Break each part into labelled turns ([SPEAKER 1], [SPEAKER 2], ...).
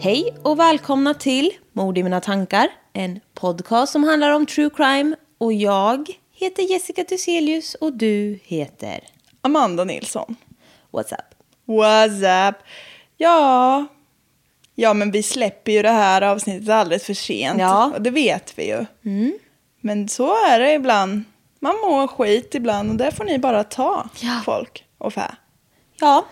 [SPEAKER 1] Hej och välkomna till Mord i mina tankar, en podcast som handlar om true crime. Och jag heter Jessica Thyselius och du heter...
[SPEAKER 2] Amanda Nilsson.
[SPEAKER 1] What's up?
[SPEAKER 2] What's up? Ja. ja, men vi släpper ju det här avsnittet alldeles för sent.
[SPEAKER 1] Ja. Mm.
[SPEAKER 2] Och det vet vi ju. Men så är det ibland. Man mår skit ibland och det får ni bara ta,
[SPEAKER 1] Ja.
[SPEAKER 2] folk och fä.
[SPEAKER 1] Ja,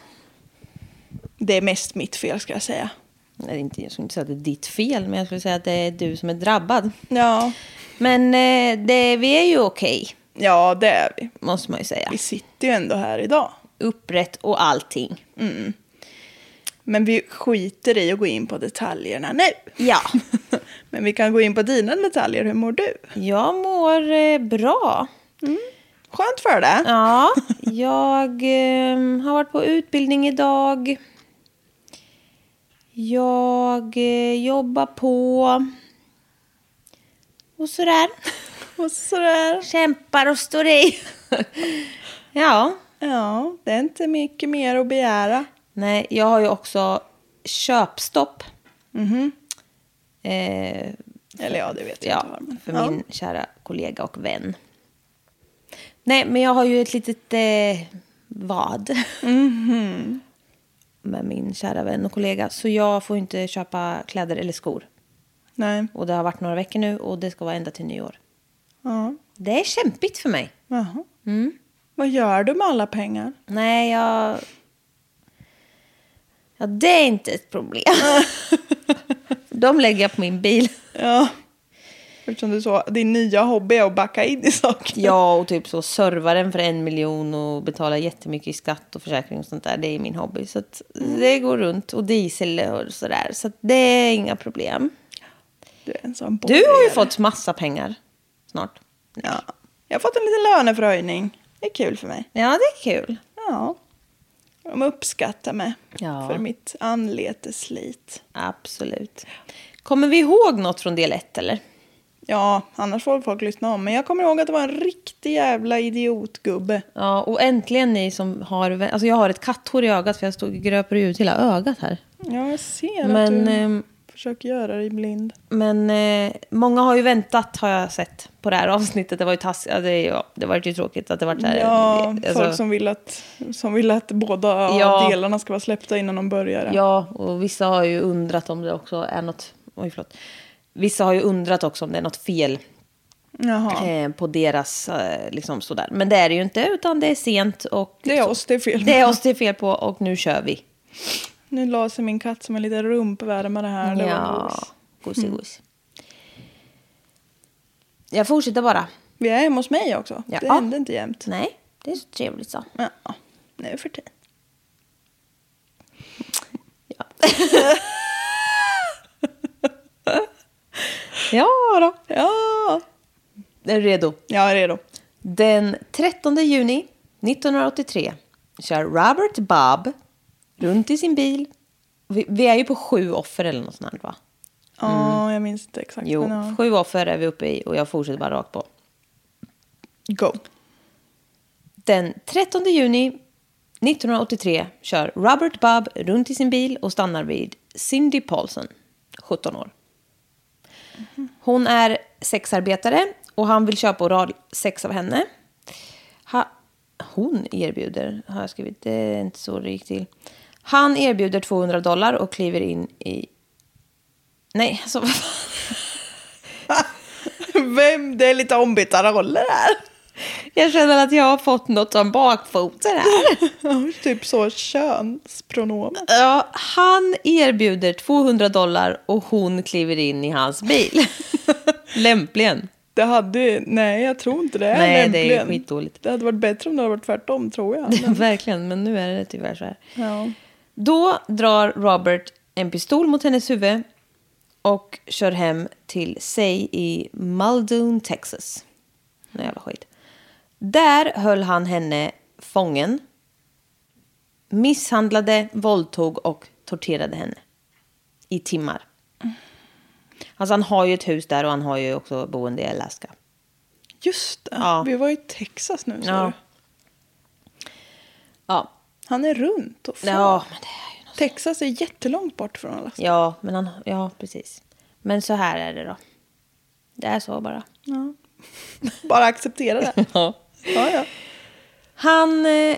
[SPEAKER 2] Det är mest mitt fel ska jag säga.
[SPEAKER 1] det är inte, jag skulle inte säga att det är ditt fel, men jag skulle säga att det är du som är drabbad.
[SPEAKER 2] Ja,
[SPEAKER 1] Men eh, det, vi är ju okej,
[SPEAKER 2] ja det är vi.
[SPEAKER 1] måste man ju säga.
[SPEAKER 2] Vi sitter ju ändå här idag.
[SPEAKER 1] Upprätt och allting.
[SPEAKER 2] Men vi skiter i att gå in på detaljerna nu.
[SPEAKER 1] Ja,
[SPEAKER 2] Men vi kan gå in på dina detaljer. Hur mår du?
[SPEAKER 1] jag mår eh, bra.
[SPEAKER 2] Skönt för det.
[SPEAKER 1] Ja, jag eh, har varit på utbildning idag. Jag eh, jobbar på. Och sådär.
[SPEAKER 2] Och sådär.
[SPEAKER 1] Kämpar och står i. ja,
[SPEAKER 2] Ja, det är inte mycket mer att begära.
[SPEAKER 1] nej, jag har ju också köpstopp. Eh,
[SPEAKER 2] Eller ja, det vet jag
[SPEAKER 1] ja,
[SPEAKER 2] inte. vad, men-
[SPEAKER 1] för
[SPEAKER 2] ja.
[SPEAKER 1] min kära kollega och vän. Nej, men jag har ju ett litet eh, vad. Med min kära vän och kollega. Så jag får inte köpa kläder eller skor.
[SPEAKER 2] Nej.
[SPEAKER 1] Och det har varit några veckor nu och det ska vara ända till nyår.
[SPEAKER 2] Ja.
[SPEAKER 1] Det är kämpigt för mig.
[SPEAKER 2] Jaha.
[SPEAKER 1] Mm.
[SPEAKER 2] Vad gör du med alla pengar?
[SPEAKER 1] Nej, jag... Ja, det är inte ett problem. De lägger jag på min bil.
[SPEAKER 2] Ja. Eftersom du sa, din nya hobby är att backa in i saker.
[SPEAKER 1] Ja, och typ så serva den för en miljon och betala jättemycket i skatt och försäkring och sånt där. Det är min hobby. Så att det går runt. Och diesel och sådär. Så att det är inga problem.
[SPEAKER 2] Du är en sån
[SPEAKER 1] Du har ju
[SPEAKER 2] borgare.
[SPEAKER 1] fått massa pengar snart.
[SPEAKER 2] Ja. Jag har fått en liten löneförhöjning. Det är kul för mig.
[SPEAKER 1] Ja, det är kul.
[SPEAKER 2] Ja. De uppskattar mig
[SPEAKER 1] Ja.
[SPEAKER 2] för mitt anletes slit.
[SPEAKER 1] Absolut. Kommer vi ihåg något från del ett eller?
[SPEAKER 2] Ja, annars får folk lyssna om. Men jag kommer ihåg att det var en riktig jävla idiotgubbe.
[SPEAKER 1] Ja, och äntligen ni som har... Alltså jag har ett katthår i ögat för jag stod och gröper ut hela ögat här.
[SPEAKER 2] Ja, jag ser
[SPEAKER 1] Men,
[SPEAKER 2] att du
[SPEAKER 1] ehm,
[SPEAKER 2] försöker göra dig blind.
[SPEAKER 1] Men eh, många har ju väntat har jag sett på det här avsnittet. Det var ju tass, ja, det, ja, det var ju tråkigt att det var så här.
[SPEAKER 2] Ja,
[SPEAKER 1] alltså,
[SPEAKER 2] folk som vill att, som vill att båda
[SPEAKER 1] Ja.
[SPEAKER 2] delarna ska vara släppta innan de börjar.
[SPEAKER 1] Ja, och vissa har ju undrat om det också är något... Oj, förlåt. Vissa har ju undrat också om det är något fel
[SPEAKER 2] Jaha.
[SPEAKER 1] eh, på deras... Eh, liksom sådär. Men det är det ju inte, utan det är sent och...
[SPEAKER 2] Det är oss det är fel.
[SPEAKER 1] Det är oss det är fel på och nu kör vi.
[SPEAKER 2] Nu la sig min katt som en liten rumpvärmare här. Det var gos. Mm.
[SPEAKER 1] gosig-gos. Jag fortsätter bara.
[SPEAKER 2] Vi är hemma hos mig också.
[SPEAKER 1] Ja.
[SPEAKER 2] Det händer inte jämt.
[SPEAKER 1] Nej, det är så trevligt så.
[SPEAKER 2] Ja, nu för tiden.
[SPEAKER 1] Ja då.
[SPEAKER 2] Ja,
[SPEAKER 1] Är du redo?
[SPEAKER 2] Jag är redo.
[SPEAKER 1] Den 13 juni 1983 kör Robert Bob runt i sin bil. Vi, vi är ju på sju offer eller något sånt här, va?
[SPEAKER 2] Ja, jag minns inte exakt.
[SPEAKER 1] Mm. Jo,
[SPEAKER 2] men ja.
[SPEAKER 1] sju offer är vi uppe i och jag fortsätter bara rakt på.
[SPEAKER 2] Go.
[SPEAKER 1] Den 13 juni 1983 kör Robert Bob runt i sin bil och stannar vid Cindy Paulson, 17 år. Hon är sexarbetare och han vill köpa oral sex av henne. Ha, hon erbjuder, har jag skrivit, det är inte så det gick till. Han erbjuder 200 dollar och kliver in i... Nej, alltså vad fan.
[SPEAKER 2] Vem? Det är lite ombytta roller här.
[SPEAKER 1] Jag känner att jag har fått något om bakfoten här.
[SPEAKER 2] Ja, typ så könspronomen.
[SPEAKER 1] Ja, han erbjuder 200 dollar och hon kliver in i hans bil. Lämpligen.
[SPEAKER 2] Det hade, nej jag tror inte det. är
[SPEAKER 1] Nej, det är ju
[SPEAKER 2] lämpligen.
[SPEAKER 1] skitdåligt.
[SPEAKER 2] Det hade varit bättre om det hade varit tvärtom tror jag. Men,
[SPEAKER 1] Verkligen, men nu är det tyvärr så här.
[SPEAKER 2] ja.
[SPEAKER 1] Då drar Robert en pistol mot hennes huvud och kör hem till sig i Muldoon, Texas. Nån jävla skit. Där höll han henne fången. Misshandlade, våldtog och torterade henne. I timmar. Alltså han har ju ett hus där och han har ju också boende i Alaska.
[SPEAKER 2] Just det,
[SPEAKER 1] Ja.
[SPEAKER 2] vi var i Texas nu.
[SPEAKER 1] Ja.
[SPEAKER 2] Ja.
[SPEAKER 1] Ja,
[SPEAKER 2] Han är runt och far.
[SPEAKER 1] ja men det är ju
[SPEAKER 2] Texas är jättelångt bort från Alaska.
[SPEAKER 1] Ja, men han, ja, precis. Men så här är det då. Det är så bara.
[SPEAKER 2] Ja. Bara acceptera det. Ja, ja.
[SPEAKER 1] Han... eh,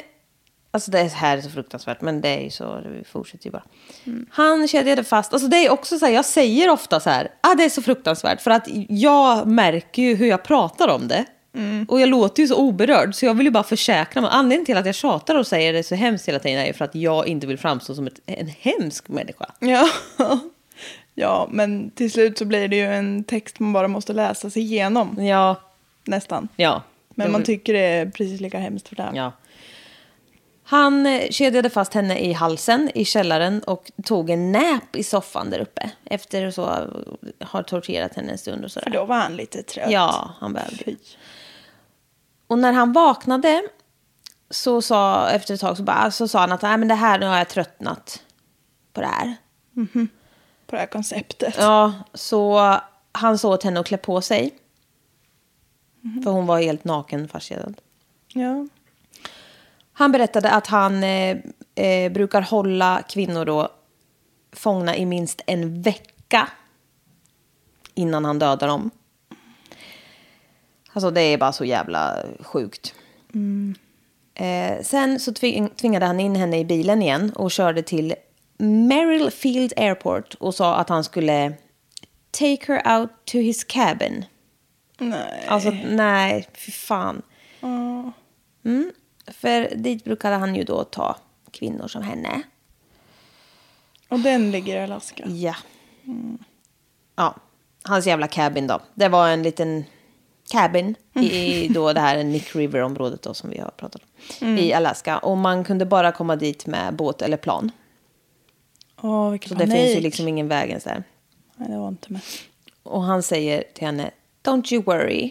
[SPEAKER 1] Alltså det här är så fruktansvärt, men det är ju så, vi fortsätter ju bara.
[SPEAKER 2] Mm.
[SPEAKER 1] Han kedjade fast, alltså det är också så här, jag säger ofta så här, ah det är så fruktansvärt, för att jag märker ju hur jag pratar om det.
[SPEAKER 2] Mm.
[SPEAKER 1] Och jag låter ju så oberörd, så jag vill ju bara försäkra mig. Anledningen till att jag tjatar och säger det så hemskt hela tiden är ju för att jag inte vill framstå som ett, en hemsk människa.
[SPEAKER 2] Ja. ja, men till slut så blir det ju en text man bara måste läsa sig igenom.
[SPEAKER 1] Ja,
[SPEAKER 2] Nästan.
[SPEAKER 1] ja.
[SPEAKER 2] Mm. Men man
[SPEAKER 1] Det-
[SPEAKER 2] tycker det är precis lika hemskt för det. här.
[SPEAKER 1] Ja. Han eh, kedjade fast henne i halsen i källaren och tog en nap i soffan där uppe. Efter att så eh, har torterat henne en stund och
[SPEAKER 2] För
[SPEAKER 1] sådär.
[SPEAKER 2] då var han lite trött.
[SPEAKER 1] Ja, han behövde ju.
[SPEAKER 2] Fy.
[SPEAKER 1] Och när han vaknade så sa, efter ett tag så, bara, så sa han att Nej, men det här, nu har jag tröttnat på det här.
[SPEAKER 2] På det här konceptet.
[SPEAKER 1] Ja, så han sa åt henne att klä på sig. För hon var helt naken fastkedjad.
[SPEAKER 2] Ja.
[SPEAKER 1] Han berättade att han eh, eh, brukar hålla kvinnor då fångna i minst en vecka innan han dödar dem. Alltså det är bara så jävla sjukt. Eh, sen så tving- tvingade han in henne i bilen igen och körde till Merrillfield Airport och sa att han skulle take her out to his cabin.
[SPEAKER 2] Nej.
[SPEAKER 1] Alltså nej, fy fan. Mm. För dit brukade han ju då ta kvinnor som henne.
[SPEAKER 2] Och den ligger i Alaska.
[SPEAKER 1] Ja. Mm. Ja, hans jävla cabin då. Det var en liten cabin i då det här Nick River-området då som vi har pratat om. I Alaska. Och man kunde bara komma dit med båt eller plan.
[SPEAKER 2] Åh, vilken
[SPEAKER 1] Så
[SPEAKER 2] panik.
[SPEAKER 1] det finns ju liksom ingen väg ens där.
[SPEAKER 2] Nej, det var inte med.
[SPEAKER 1] Och han säger till henne, don't you worry.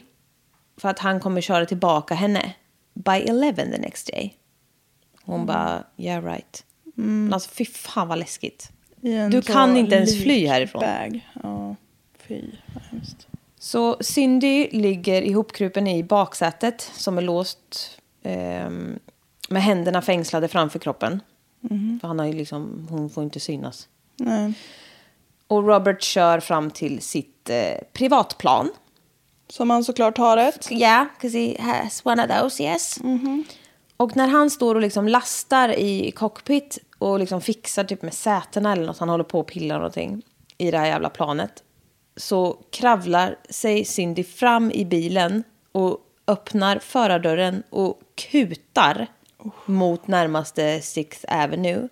[SPEAKER 1] För att han kommer köra tillbaka henne by 11 the next day. Hon
[SPEAKER 2] Mm.
[SPEAKER 1] bara, yeah right. Men alltså fy fan vad läskigt.
[SPEAKER 2] I Mm. en
[SPEAKER 1] Du
[SPEAKER 2] så
[SPEAKER 1] kan inte ens fly
[SPEAKER 2] lik
[SPEAKER 1] härifrån.
[SPEAKER 2] Bag. Ja, fy. Vad hemskt.
[SPEAKER 1] Så Cindy ligger ihopkrupen i baksätet som är låst ehm, med händerna fängslade framför kroppen.
[SPEAKER 2] Mm-hmm.
[SPEAKER 1] För han har ju liksom, hon får inte synas.
[SPEAKER 2] Nej.
[SPEAKER 1] Och Robert kör fram till sitt eh, privatplan.
[SPEAKER 2] Som han såklart har ett.
[SPEAKER 1] Yeah, because he has one of those, yes. Och när han står och liksom lastar i cockpit och liksom fixar typ med sätena eller något, han håller på och pillar någonting i det här jävla planet, så kravlar sig Cindy fram i bilen och öppnar förardörren och kutar mot närmaste Sixth Avenue.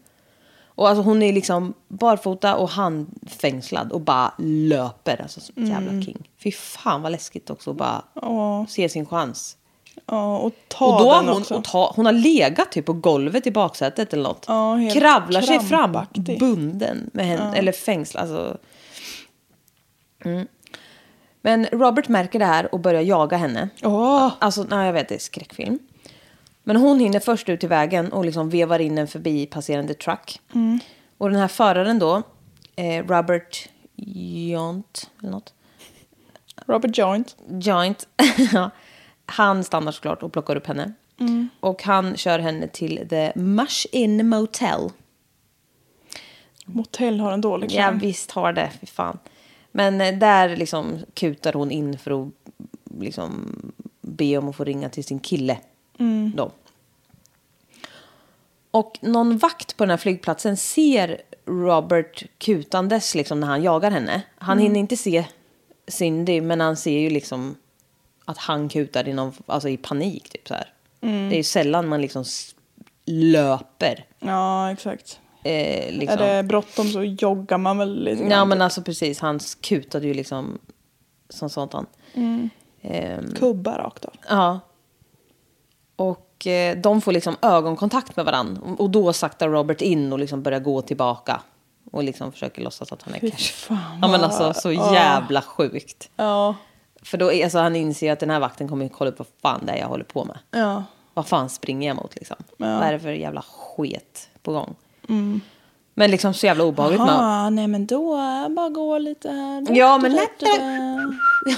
[SPEAKER 1] Och alltså hon är liksom barfota och handfängslad och bara löper. Alltså som ett jävla king. Fy fan vad läskigt också att bara se sin chans.
[SPEAKER 2] Ja, och ta
[SPEAKER 1] Och då har
[SPEAKER 2] den
[SPEAKER 1] hon,
[SPEAKER 2] också.
[SPEAKER 1] och ta, hon har legat typ på golvet i baksätet eller något.
[SPEAKER 2] Ja, helt
[SPEAKER 1] Kravlar sig fram
[SPEAKER 2] krampaktig.
[SPEAKER 1] bunden med henne, eller fängslad. Alltså. Mm. Men Robert märker det här och börjar jaga henne.
[SPEAKER 2] Åh.
[SPEAKER 1] Alltså, nej, jag vet, det är skräckfilm. Men hon hinner först ut i vägen och liksom vevar in en förbi passerande truck.
[SPEAKER 2] Mm.
[SPEAKER 1] Och den här föraren då, eh, Robert Jont, eller något.
[SPEAKER 2] Robert Joint.
[SPEAKER 1] Joint. Ja. han stannar såklart och plockar upp henne. Och han kör henne till The Mush In Motel.
[SPEAKER 2] Motell har en dålig
[SPEAKER 1] Ja,
[SPEAKER 2] klang.
[SPEAKER 1] visst har det. Fy fan. Men eh, där liksom kutar hon in för att liksom be om att få ringa till sin kille.
[SPEAKER 2] Mm.
[SPEAKER 1] Då. Och någon vakt på den här flygplatsen ser Robert kutandes liksom när han jagar henne. Han
[SPEAKER 2] Mm.
[SPEAKER 1] hinner inte se Cindy, men han ser ju liksom att han kutar i, någon, alltså i panik. Typ, så här.
[SPEAKER 2] Mm.
[SPEAKER 1] Det är ju sällan man liksom s- löper.
[SPEAKER 2] Ja, exakt.
[SPEAKER 1] Eh, liksom.
[SPEAKER 2] Är det bråttom så joggar man väl lite
[SPEAKER 1] Ja men alltså precis, han kutade ju liksom som sånt han.
[SPEAKER 2] Mm. Kubba rakt av.
[SPEAKER 1] Ja. Och eh, de får liksom ögonkontakt med varann. Och då saktar Robert in och liksom börjar gå tillbaka. Och liksom försöker låtsas att han är
[SPEAKER 2] Fy
[SPEAKER 1] cash.
[SPEAKER 2] fan,
[SPEAKER 1] Ja men
[SPEAKER 2] vad-
[SPEAKER 1] alltså så
[SPEAKER 2] ah.
[SPEAKER 1] jävla sjukt.
[SPEAKER 2] Ja.
[SPEAKER 1] För då är, alltså, han inser ju att den här vakten kommer ju kolla upp vad fan det är jag håller på med.
[SPEAKER 2] Ja.
[SPEAKER 1] Vad fan springer jag mot liksom? Vad är det för jävla sket på gång?
[SPEAKER 2] Mm.
[SPEAKER 1] Men liksom så jävla obehagligt med
[SPEAKER 2] Ah, nej men då eh, bara gå lite här.
[SPEAKER 1] Ja, men lätt.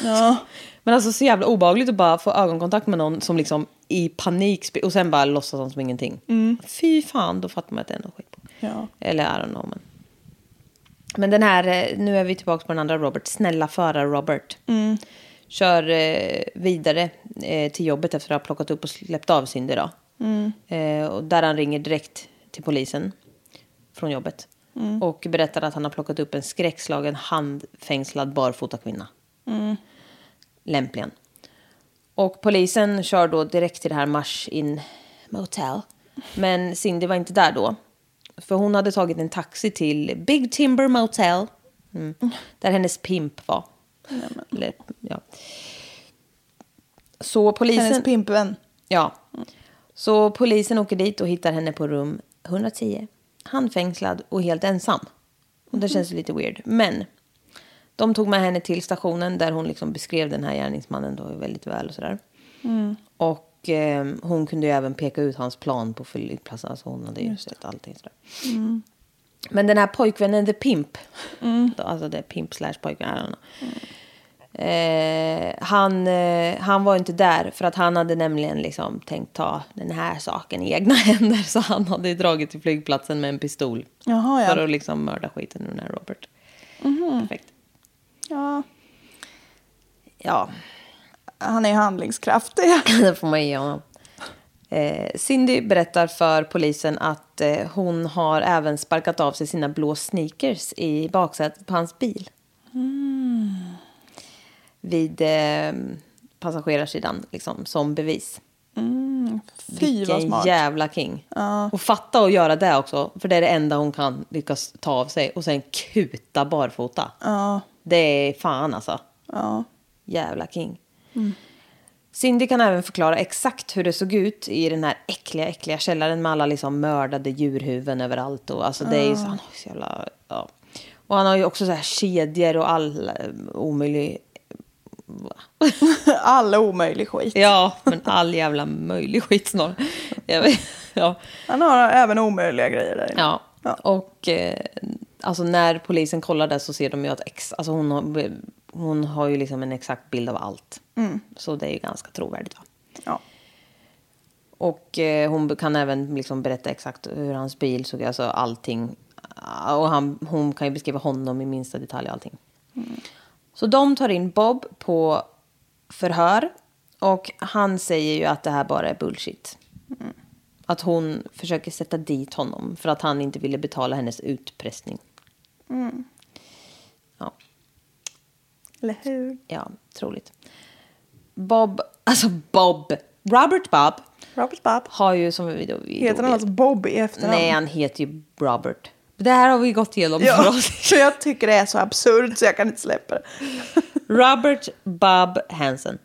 [SPEAKER 2] Ja.
[SPEAKER 1] Men alltså så jävla obehagligt att bara få ögonkontakt med någon som liksom i panik sp- och sen bara låtsas som ingenting. Fy fan, då fattar man att det är något skit på.
[SPEAKER 2] Ja.
[SPEAKER 1] Eller I don't know. Men, men den här, eh, nu är vi tillbaka på den andra Robert. Snälla föra Robert. Kör eh, vidare eh, till jobbet efter att ha plockat upp och släppt av Cindy då. Eh, och där han ringer direkt till polisen från jobbet. Och berättar att han har plockat upp en skräckslagen handfängslad barfota kvinna lämpligen. Och polisen kör då direkt till det här Mars in Motel. Men Cindy var inte där då. För hon hade tagit en taxi till Big Timber Motel. Mm. Där hennes pimp var. Eller, ja. Så polisen...
[SPEAKER 2] Hennes pimpvän.
[SPEAKER 1] Ja. Så polisen åker dit och hittar henne på rum 110. Handfängslad och helt ensam. Och det känns ju lite weird. Men de tog med henne till stationen där hon liksom beskrev den här gärningsmannen då väldigt väl och sådär.
[SPEAKER 2] Mm.
[SPEAKER 1] Och eh, hon kunde ju även peka ut hans plan på flygplatsen. Alltså hon hade ju sett allting sådär.
[SPEAKER 2] Mm.
[SPEAKER 1] Men den här pojkvännen, the pimp. Då, Alltså det är pimp slash pojkvän. I don't know.
[SPEAKER 2] Mm.
[SPEAKER 1] Eh, han, eh, han var inte där för att han hade nämligen liksom tänkt ta den här saken i egna händer. Så han hade ju dragit till flygplatsen med en pistol.
[SPEAKER 2] Jaha, ja. Mhm.
[SPEAKER 1] För att liksom mörda skiten ur den här Robert. Perfekt.
[SPEAKER 2] Ja.
[SPEAKER 1] Ja,
[SPEAKER 2] Han är ju handlingskraftig.
[SPEAKER 1] det får man ge honom. Eh, Cindy berättar för polisen att eh, hon har även sparkat av sig sina blå sneakers i baksätet på hans bil. Vid eh, passagerarsidan, liksom, som bevis.
[SPEAKER 2] Fy vad smart.
[SPEAKER 1] jävla king. Och fatta att göra det också, för det är det enda hon kan lyckas ta av sig. Och sen kuta barfota. Det är fan alltså.
[SPEAKER 2] Ja.
[SPEAKER 1] Jävla king. Cindy kan även förklara exakt hur det såg ut i den här äckliga, äckliga källaren med alla liksom mördade djurhuvuden överallt. Och, alltså, det är ju så, han har ju så jävla... Ja. Och han har ju också så här kedjor och all eh, omöjlig...
[SPEAKER 2] All omöjlig skit.
[SPEAKER 1] Ja, men all jävla möjlig skit snarare. Jag vet- Ja.
[SPEAKER 2] Han har även omöjliga grejer där inne.
[SPEAKER 1] Ja. Och eh, alltså när polisen kollar där så ser de ju att ex, alltså hon, har, hon har ju liksom en exakt bild av allt. Så det är ju ganska trovärdigt. Va?
[SPEAKER 2] Ja.
[SPEAKER 1] Och eh, hon kan även liksom berätta exakt hur hans bil såg ut, alltså allting. Ah, Och han, hon kan ju beskriva honom i minsta detalj och allting.
[SPEAKER 2] Mm.
[SPEAKER 1] Så de tar in Bob på förhör och han säger ju att det här bara är bullshit.
[SPEAKER 2] Mm.
[SPEAKER 1] Att hon försöker sätta dit honom för att han inte ville betala hennes utpressning. Ja,
[SPEAKER 2] Eller hur?
[SPEAKER 1] ja, troligt. Bob, alltså Bob, Robert Bob
[SPEAKER 2] Robert Bob.
[SPEAKER 1] har ju som vi då... vi då
[SPEAKER 2] Heter han
[SPEAKER 1] vet-
[SPEAKER 2] alltså Bob i efternamn?
[SPEAKER 1] Nej, han heter ju Robert. Det här har vi gått igenom.
[SPEAKER 2] Ja, så jag tycker det är så absurt så jag kan inte släppa det.
[SPEAKER 1] Robert Bob Hansen.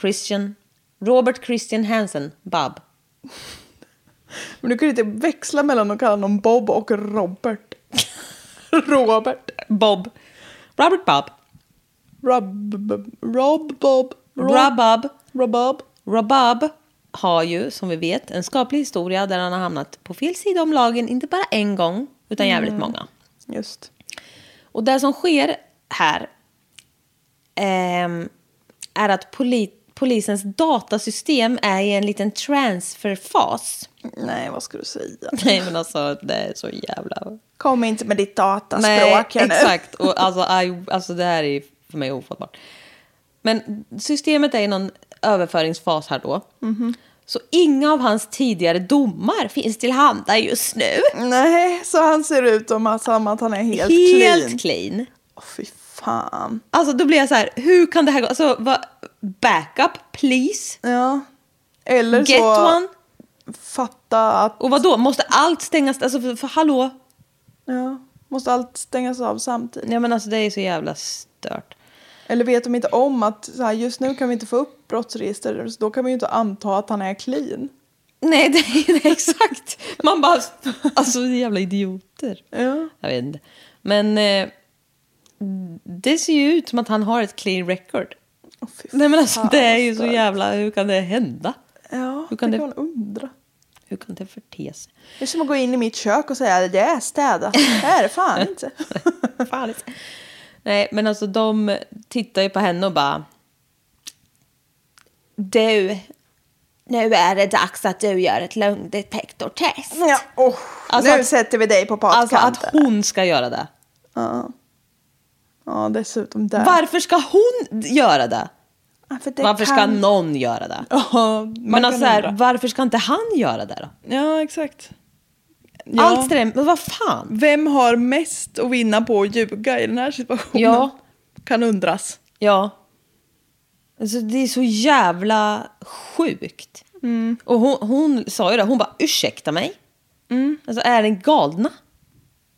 [SPEAKER 1] Christian. Robert Christian Hansen Bob.
[SPEAKER 2] Men du kan ju inte växla mellan att kalla honom Bob och Robert. Robert.
[SPEAKER 1] Bob. Robert Bob.
[SPEAKER 2] Rob, Rob, Bob,
[SPEAKER 1] Rabab.
[SPEAKER 2] Rob, Bob.
[SPEAKER 1] Rabab har ju, som vi vet, en skaplig historia där han har hamnat på fel sida om lagen, inte bara en gång, utan jävligt många.
[SPEAKER 2] Just.
[SPEAKER 1] Och det som sker här ehm, är att poli- polisens datasystem är i en liten transferfas.
[SPEAKER 2] Nej, vad ska du säga?
[SPEAKER 1] Nej, men alltså, det är så jävla...
[SPEAKER 2] Kom inte med ditt dataspråk
[SPEAKER 1] Nej,
[SPEAKER 2] här nu.
[SPEAKER 1] exakt. Och alltså, I, alltså, det här är för mig ofattbart. Men systemet är i någon överföringsfas här då.
[SPEAKER 2] Mhm.
[SPEAKER 1] Så inga av hans tidigare domar finns tillhanda just nu.
[SPEAKER 2] Nej, så han ser ut som att som att han är helt, clean.
[SPEAKER 1] Helt clean.
[SPEAKER 2] Åh, fy fan.
[SPEAKER 1] Alltså då blir jag så här, hur kan det här gå? Alltså, vad- backup please.
[SPEAKER 2] Ja. Eller
[SPEAKER 1] Get
[SPEAKER 2] så
[SPEAKER 1] one.
[SPEAKER 2] fatta att
[SPEAKER 1] Och vad då? måste allt stängas? Alltså för, för hallå?
[SPEAKER 2] ja, måste allt stängas av samtidigt.
[SPEAKER 1] Nej men alltså det är så jävla stört.
[SPEAKER 2] Eller vet de inte om att så här, just nu kan vi inte få upp brottsregister så då kan vi ju inte anta att han är clean.
[SPEAKER 1] Nej, det är det är exakt. Man bara, alltså jävla idioter.
[SPEAKER 2] Ja.
[SPEAKER 1] Jag vet inte. Men eh, det ser ju ut som att han har ett clean record.
[SPEAKER 2] Åh, fy
[SPEAKER 1] Nej men alltså
[SPEAKER 2] fan,
[SPEAKER 1] det är ju så
[SPEAKER 2] stört.
[SPEAKER 1] jävla, hur kan det hända?
[SPEAKER 2] Ja,
[SPEAKER 1] Hur
[SPEAKER 2] hur
[SPEAKER 1] kan
[SPEAKER 2] kan
[SPEAKER 1] det-
[SPEAKER 2] det kan man undra.
[SPEAKER 1] Hur kan det förte sig?
[SPEAKER 2] Det är som att gå in i mitt kök och säga det är städat. Det är det fan inte.
[SPEAKER 1] Fan. Nej, men alltså de tittar ju på henne och bara... Du, nu är det dags att du gör ett lögndetektortest.
[SPEAKER 2] Ja, oh,
[SPEAKER 1] Alltså
[SPEAKER 2] nu
[SPEAKER 1] att-
[SPEAKER 2] sätter vi dig på
[SPEAKER 1] Alltså
[SPEAKER 2] pottkanten.
[SPEAKER 1] att hon ska göra det.
[SPEAKER 2] Ja. ja, dessutom där.
[SPEAKER 1] Varför ska hon göra det?
[SPEAKER 2] Ja, för det
[SPEAKER 1] Varför ska
[SPEAKER 2] kan-
[SPEAKER 1] någon göra det?
[SPEAKER 2] Ja, man
[SPEAKER 1] Men
[SPEAKER 2] kan
[SPEAKER 1] alltså, så här,
[SPEAKER 2] undra.
[SPEAKER 1] varför ska inte han göra det då?
[SPEAKER 2] Ja, exakt. Ja.
[SPEAKER 1] Allt det där, men vad fan?
[SPEAKER 2] Vem har mest att vinna på att ljuga i den här situationen?
[SPEAKER 1] Ja.
[SPEAKER 2] Kan undras.
[SPEAKER 1] Ja. Alltså, det är så jävla sjukt. Och hon, hon sa ju det, hon bara ursäkta mig. Alltså är den galna?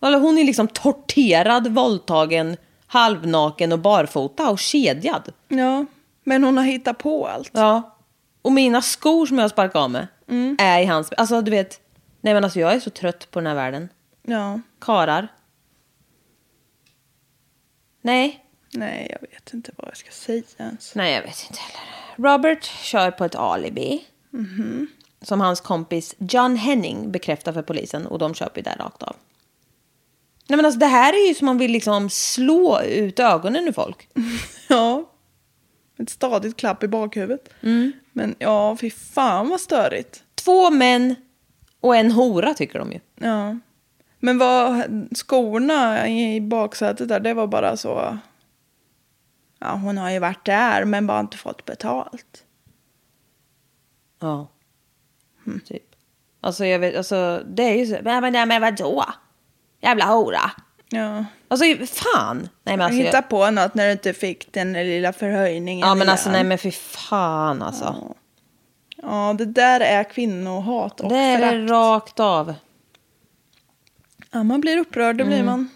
[SPEAKER 1] Alltså, hon är liksom torterad, våldtagen, halvnaken och barfota och kedjad.
[SPEAKER 2] Ja, men hon har hittat på allt.
[SPEAKER 1] Ja. Och mina skor som jag sparkade av med är i hans... Alltså du vet, nej men alltså jag är så trött på den här världen.
[SPEAKER 2] Ja,
[SPEAKER 1] Karar. Nej,
[SPEAKER 2] nej, jag vet inte vad jag ska säga ens.
[SPEAKER 1] Nej, jag vet inte heller. Robert kör på ett alibi. Som hans kompis John Henning bekräftar för polisen och de köper ju det rakt av. Nej men alltså det här är ju som man vill liksom slå ut ögonen ur folk.
[SPEAKER 2] Ja, ett stadigt klapp i bakhuvudet.
[SPEAKER 1] Mm.
[SPEAKER 2] Men ja, fy fan vad störigt.
[SPEAKER 1] Två män och en hora tycker de ju.
[SPEAKER 2] Ja. Men vad, skorna i baksätet där, det var bara så... Ja, hon har ju varit där men bara inte fått betalt.
[SPEAKER 1] Ja. Typ. Alltså jag vet, alltså det är ju så. Men, men, men vadå? Jävla hora.
[SPEAKER 2] Ja.
[SPEAKER 1] Alltså fan. Nej men alltså.
[SPEAKER 2] Hitta
[SPEAKER 1] Jag,
[SPEAKER 2] på något när du inte fick den lilla förhöjningen.
[SPEAKER 1] ja
[SPEAKER 2] i
[SPEAKER 1] men alltså
[SPEAKER 2] lön.
[SPEAKER 1] nej men för fan alltså.
[SPEAKER 2] Ja, det där är kvinnohat och
[SPEAKER 1] det är det
[SPEAKER 2] förakt.
[SPEAKER 1] rakt av.
[SPEAKER 2] Ja, man blir upprörd, det
[SPEAKER 1] Mm.
[SPEAKER 2] blir man.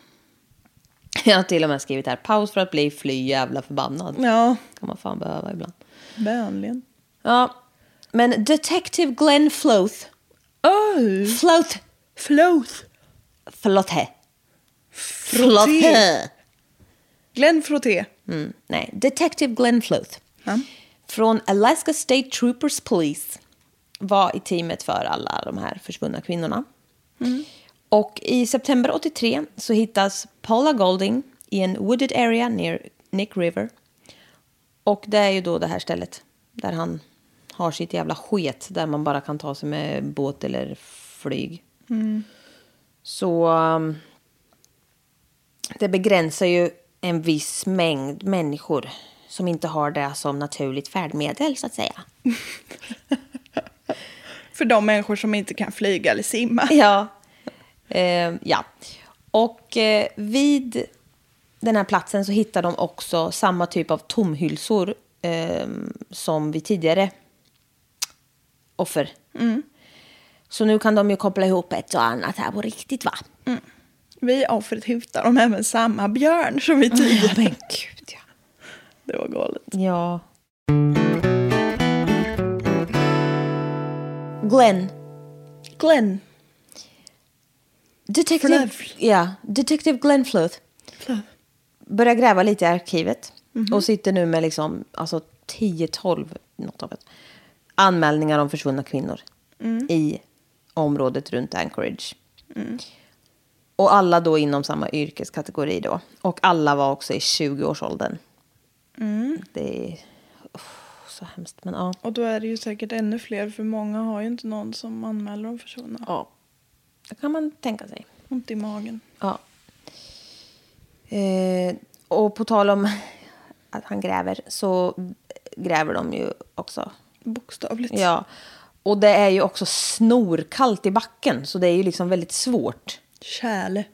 [SPEAKER 1] Jag har till och med skrivit här, paus för att bli fly jävla förbannad.
[SPEAKER 2] Ja,
[SPEAKER 1] kan man fan behöva ibland.
[SPEAKER 2] vänligen.
[SPEAKER 1] Ja, men Detective Glenn Floth.
[SPEAKER 2] Oh,
[SPEAKER 1] Floth.
[SPEAKER 2] floth.
[SPEAKER 1] Flothe. Flothe.
[SPEAKER 2] Glenn Frotté.
[SPEAKER 1] Mm, nej, Detective Glenn Floth.
[SPEAKER 2] Ja.
[SPEAKER 1] Från Alaska State Troopers Police. Var i teamet för alla de här försvunna kvinnorna. Och i september 83 så hittas Paula Golding i en wooded area near Nick River. Och det är ju då det här stället där han har sitt jävla sket där man bara kan ta sig med båt eller flyg. Så um, det begränsar ju en viss mängd människor som inte har det som naturligt färdmedel så att säga.
[SPEAKER 2] För de människor som inte kan flyga eller simma.
[SPEAKER 1] Ja. Eh, ja. Och eh, vid den här platsen så hittar de också samma typ av tomhylsor eh, som vid tidigare offer. Så nu kan de ju koppla ihop ett och annat här på riktigt va?
[SPEAKER 2] Vi offret hittar dem även samma björn som vi
[SPEAKER 1] Ja,
[SPEAKER 2] tidigare.
[SPEAKER 1] men gud ja.
[SPEAKER 2] Det var galet.
[SPEAKER 1] Ja. Glenn.
[SPEAKER 2] Glenn.
[SPEAKER 1] Detective,
[SPEAKER 2] Flöv.
[SPEAKER 1] ja, Detective Glenn Flood börjar gräva lite i arkivet Och sitter nu med liksom, alltså 10-12 något av ett, anmälningar om försvunna kvinnor i området runt Anchorage. Och alla då inom samma yrkeskategori då. Och alla var också i 20-årsåldern. Det är uff, så hemskt, men ja.
[SPEAKER 2] Och då är det ju säkert ännu fler för många har ju inte någon som anmäler om försvunna.
[SPEAKER 1] ja. Det kan man tänka sig.
[SPEAKER 2] Ont i magen.
[SPEAKER 1] Ja. Eh, och på tal om att han gräver så gräver de ju också.
[SPEAKER 2] Bokstavligt.
[SPEAKER 1] Ja. Och det är ju också snorkallt i backen så det är ju liksom väldigt svårt.
[SPEAKER 2] Kärle.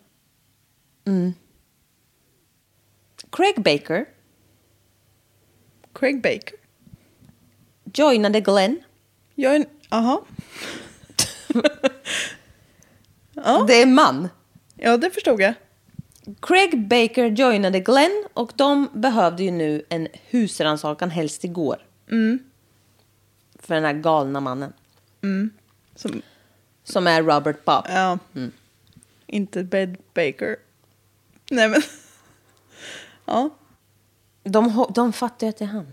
[SPEAKER 1] Craig Baker
[SPEAKER 2] Craig Baker.
[SPEAKER 1] joinade Glenn.
[SPEAKER 2] Jag är en... Aha.
[SPEAKER 1] Det är en man.
[SPEAKER 2] Ja, det förstod jag.
[SPEAKER 1] Craig Baker joinade Glenn och de behövde ju nu en husrannsakan helst igår. För den här galna mannen.
[SPEAKER 2] Som,
[SPEAKER 1] Som är Robert Bob.
[SPEAKER 2] ja.
[SPEAKER 1] Mm.
[SPEAKER 2] Inte Bed Baker. Nej men. ja,
[SPEAKER 1] De, ho- de fattar ju att det är han.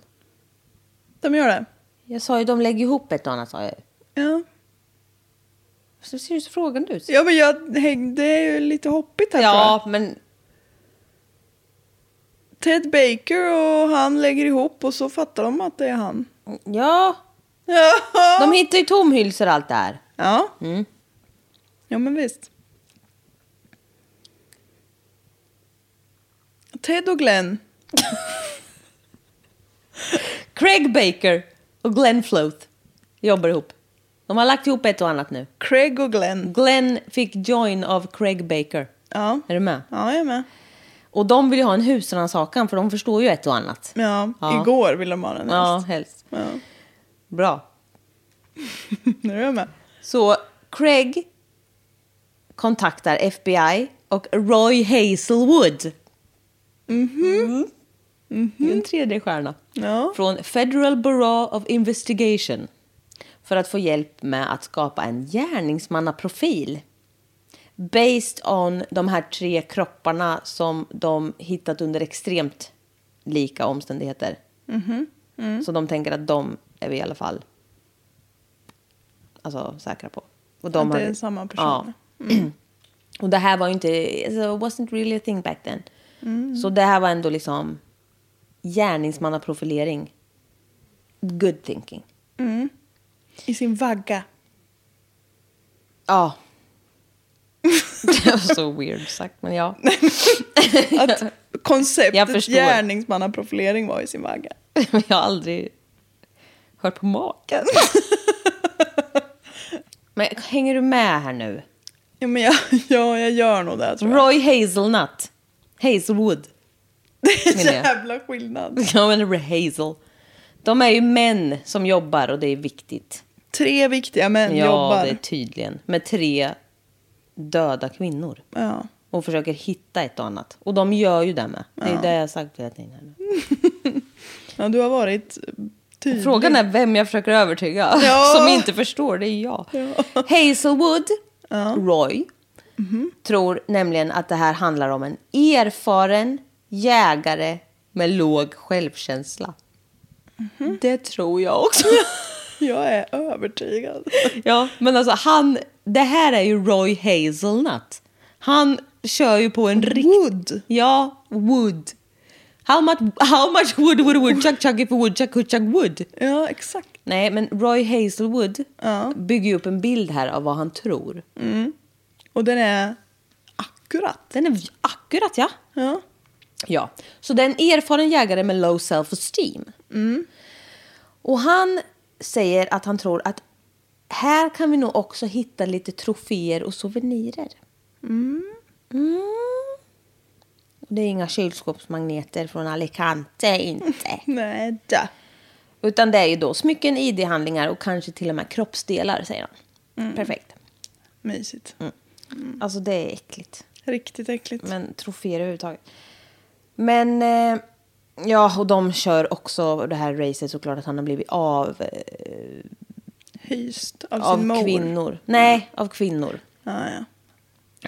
[SPEAKER 2] de gör det.
[SPEAKER 1] Jag sa ju de lägger ihop ett och annat sa jag ju.
[SPEAKER 2] Ja.
[SPEAKER 1] Så ser du så frågande ut.
[SPEAKER 2] Ja men jag hängde, det är ju lite hoppigt här tror jag.
[SPEAKER 1] Ja, men
[SPEAKER 2] Ted Baker och han lägger ihop och så fattar de att det är han.
[SPEAKER 1] ja.
[SPEAKER 2] Ja.
[SPEAKER 1] De hittar ju tomhylsor och allt det här.
[SPEAKER 2] Ja.
[SPEAKER 1] Mm.
[SPEAKER 2] Ja men visst. Ted och Glenn.
[SPEAKER 1] Craig Baker och Glenn Floth jobbar ihop. De har lagt ihop ett och annat nu.
[SPEAKER 2] Craig och Glenn.
[SPEAKER 1] Glenn fick join av Craig Baker.
[SPEAKER 2] Ja.
[SPEAKER 1] Är du med?
[SPEAKER 2] Ja jag är med.
[SPEAKER 1] Och de vill ju ha en husrannsakan för de förstår ju ett och annat.
[SPEAKER 2] Ja,
[SPEAKER 1] Ja.
[SPEAKER 2] igår ville de ha den
[SPEAKER 1] Ja,
[SPEAKER 2] helst.
[SPEAKER 1] helst.
[SPEAKER 2] Ja.
[SPEAKER 1] Bra.
[SPEAKER 2] Nu är jag med.
[SPEAKER 1] Så Craig kontaktar FBI och Roy Hazelwood. Mhm. En tredje stjärna.
[SPEAKER 2] Ja.
[SPEAKER 1] Från Federal Bureau of Investigation. För att få hjälp med att skapa en gärningsmannaprofil. Based on de här tre kropparna som de hittat under extremt lika omständigheter.
[SPEAKER 2] Mm.
[SPEAKER 1] Så de tänker att de är vi i alla fall alltså, säkra på. Och
[SPEAKER 2] Att det
[SPEAKER 1] hade-
[SPEAKER 2] är samma Mm. person.
[SPEAKER 1] Ja. Och det här var ju inte, alltså, wasn't really a thing back then.
[SPEAKER 2] Mm.
[SPEAKER 1] Så det här var ändå liksom gärningsmannaprofilering. Good thinking.
[SPEAKER 2] I sin vagga.
[SPEAKER 1] Ja. det var så weird sagt, men ja.
[SPEAKER 2] Att
[SPEAKER 1] Jag
[SPEAKER 2] konceptet
[SPEAKER 1] förstår.
[SPEAKER 2] gärningsmannaprofilering var i sin vagga.
[SPEAKER 1] Jag har aldrig hört på maken. men hänger du med här nu?
[SPEAKER 2] Ja, men jag, ja, jag gör nog det tror jag.
[SPEAKER 1] Roy Hazelnut. Hazelwood.
[SPEAKER 2] Det
[SPEAKER 1] menar
[SPEAKER 2] är
[SPEAKER 1] jag.
[SPEAKER 2] jävla skillnad.
[SPEAKER 1] Ja, men det är Hazel. De är ju män som jobbar och det är viktigt.
[SPEAKER 2] Tre viktiga män
[SPEAKER 1] ja,
[SPEAKER 2] jobbar.
[SPEAKER 1] det är tydligen. Med tre döda kvinnor.
[SPEAKER 2] Ja.
[SPEAKER 1] Och försöker hitta ett och annat. Och de gör ju det med. Det är det jag har sagt hela tiden. Här. nu.
[SPEAKER 2] ja, du har varit tydlig.
[SPEAKER 1] Frågan är vem jag försöker övertyga.
[SPEAKER 2] Ja.
[SPEAKER 1] Som inte förstår, det är jag. Hazelwood, Roy,
[SPEAKER 2] Mhm.
[SPEAKER 1] tror nämligen att det här handlar om en erfaren jägare med låg självkänsla.
[SPEAKER 2] Mhm.
[SPEAKER 1] Det tror jag också.
[SPEAKER 2] Jag är övertygad.
[SPEAKER 1] Ja, men alltså han, det här är ju Roy Hazelnut. Han kör ju på en riktig...
[SPEAKER 2] Wood.
[SPEAKER 1] Ja, wood. How much, how much wood would a woodchuck chuck if a woodchuck could chuck wood?
[SPEAKER 2] Ja, exakt.
[SPEAKER 1] Nej, men Roy Hazelwood bygger ju upp en bild här av vad han tror.
[SPEAKER 2] Och den är akkurat.
[SPEAKER 1] Den är akkurat, ja.
[SPEAKER 2] Ja.
[SPEAKER 1] Ja, så det är en erfaren jägare med low self-esteem. Och han säger att han tror att här kan vi nog också hitta lite troféer och souvenirer. Mm. Och det är inga kylskåpsmagneter från Alicante, inte.
[SPEAKER 2] Nej, da.
[SPEAKER 1] Utan det är ju då smycken, id-handlingar och kanske till och med kroppsdelar, säger han. Perfekt.
[SPEAKER 2] Mysigt.
[SPEAKER 1] Alltså det är äckligt.
[SPEAKER 2] Riktigt äckligt.
[SPEAKER 1] Men troféer överhuvudtaget. Men eh, ja, och de kör också det här racet såklart att han har blivit av, eh,
[SPEAKER 2] Hyst av,
[SPEAKER 1] av
[SPEAKER 2] sin mor. Mm.
[SPEAKER 1] kvinnor. Nej, av kvinnor.
[SPEAKER 2] Ja, ja.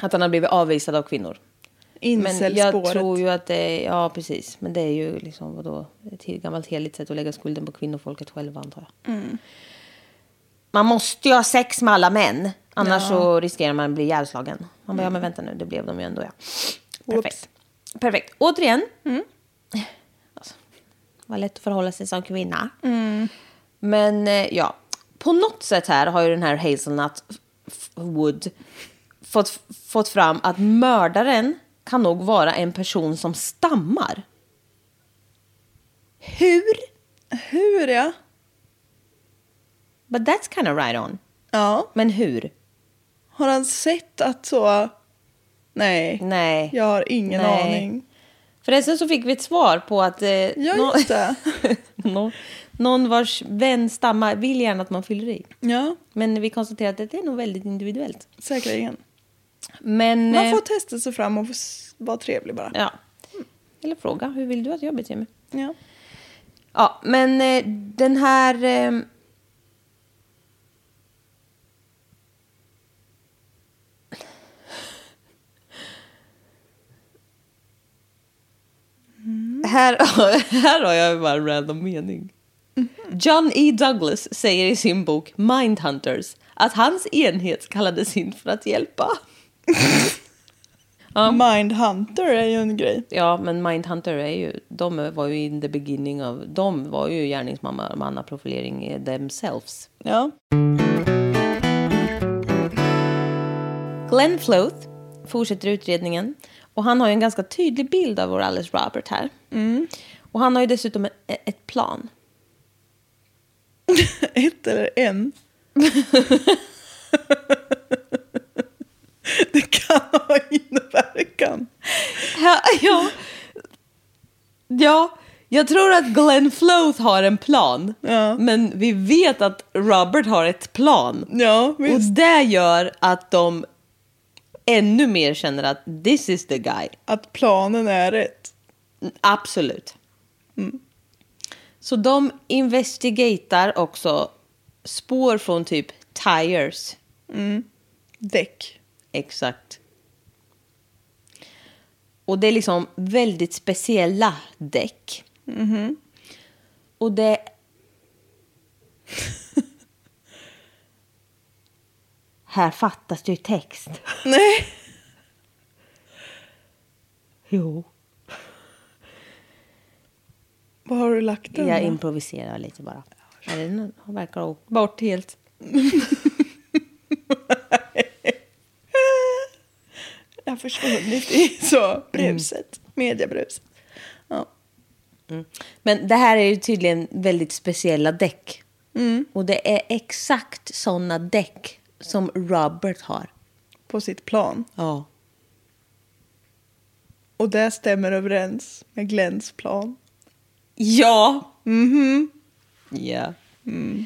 [SPEAKER 1] Att han har blivit avvisad av kvinnor. Men jag
[SPEAKER 2] Incelspåret.
[SPEAKER 1] tror ju att det är, ja precis. Men det är ju liksom vadå, ett helt gammalt heligt sätt att lägga skulden på kvinnofolket själva antar jag. Man måste ju ha sex med alla män. Annars så riskerar man att bli ihjälslagen. Man bara, ja men vänta nu, det blev de ju ändå ja. Perfekt. Perfekt. Återigen. Alltså, vad lätt att förhålla sig som kvinna. Men eh, ja, på något sätt här har ju den här Hazelnut F- Wood fått, fått fram att mördaren kan nog vara en person som stammar. Hur?
[SPEAKER 2] Hur ja?
[SPEAKER 1] But that's kind of right on.
[SPEAKER 2] Ja.
[SPEAKER 1] Men hur?
[SPEAKER 2] Har han sett att så... Nej.
[SPEAKER 1] Nej.
[SPEAKER 2] Jag har ingen
[SPEAKER 1] Nej.
[SPEAKER 2] aning.
[SPEAKER 1] Förresten så fick vi ett svar på att eh,
[SPEAKER 2] Ja,
[SPEAKER 1] nå-
[SPEAKER 2] just det.
[SPEAKER 1] nå- någon vars vän stammar vill gärna att man fyller i.
[SPEAKER 2] Ja,
[SPEAKER 1] Men vi konstaterar att det är nog väldigt individuellt.
[SPEAKER 2] säkerligen.
[SPEAKER 1] Men...
[SPEAKER 2] Man
[SPEAKER 1] eh,
[SPEAKER 2] får testa sig fram och få s- vara trevlig bara.
[SPEAKER 1] Ja. Eller fråga, hur vill du att jag beter mig?
[SPEAKER 2] Ja.
[SPEAKER 1] Ja, men eh, den här... Eh, Här, här har jag bara en random mening. John E. Douglas säger i sin bok Mindhunters att hans enhet kallades in för att hjälpa.
[SPEAKER 2] Mindhunter är ju en grej.
[SPEAKER 1] Ja, men Mindhunter är ju, de var ju in the beginning av, de var ju gärningsmannaprofilering themselves.
[SPEAKER 2] Ja.
[SPEAKER 1] Glenn Floth fortsätter utredningen och han har ju en ganska tydlig bild av vår Alice Robert här. Mm. Och han har ju dessutom e- ett plan.
[SPEAKER 2] Ett eller en. det kan ha inverkan.
[SPEAKER 1] Ja, ja. ja, jag tror att Glenn Floth har en plan.
[SPEAKER 2] Ja.
[SPEAKER 1] Men vi vet att Robert har ett plan.
[SPEAKER 2] Ja,
[SPEAKER 1] Och
[SPEAKER 2] visst.
[SPEAKER 1] det gör att de ännu mer känner att this is the guy.
[SPEAKER 2] Att planen är rätt.
[SPEAKER 1] Absolut. Så de investigatar också spår från typ tires.
[SPEAKER 2] Däck.
[SPEAKER 1] Exakt. Och det är liksom väldigt speciella däck. Mm-hmm. Och det... Här fattas det ju text.
[SPEAKER 2] Nej.
[SPEAKER 1] Jo.
[SPEAKER 2] Var har du lagt den?
[SPEAKER 1] Jag
[SPEAKER 2] då?
[SPEAKER 1] improviserar lite bara. Ja, Den verkar ha åkt bort helt.
[SPEAKER 2] Jag har försvunnit i så bruset. Mediebruset. Ja.
[SPEAKER 1] Men det här är ju tydligen väldigt speciella däck. Och det är exakt såna däck som Robert har.
[SPEAKER 2] På sitt plan.
[SPEAKER 1] Ja.
[SPEAKER 2] Och det stämmer överens med Glens plan.
[SPEAKER 1] Ja! Mhm. Ja. Mm.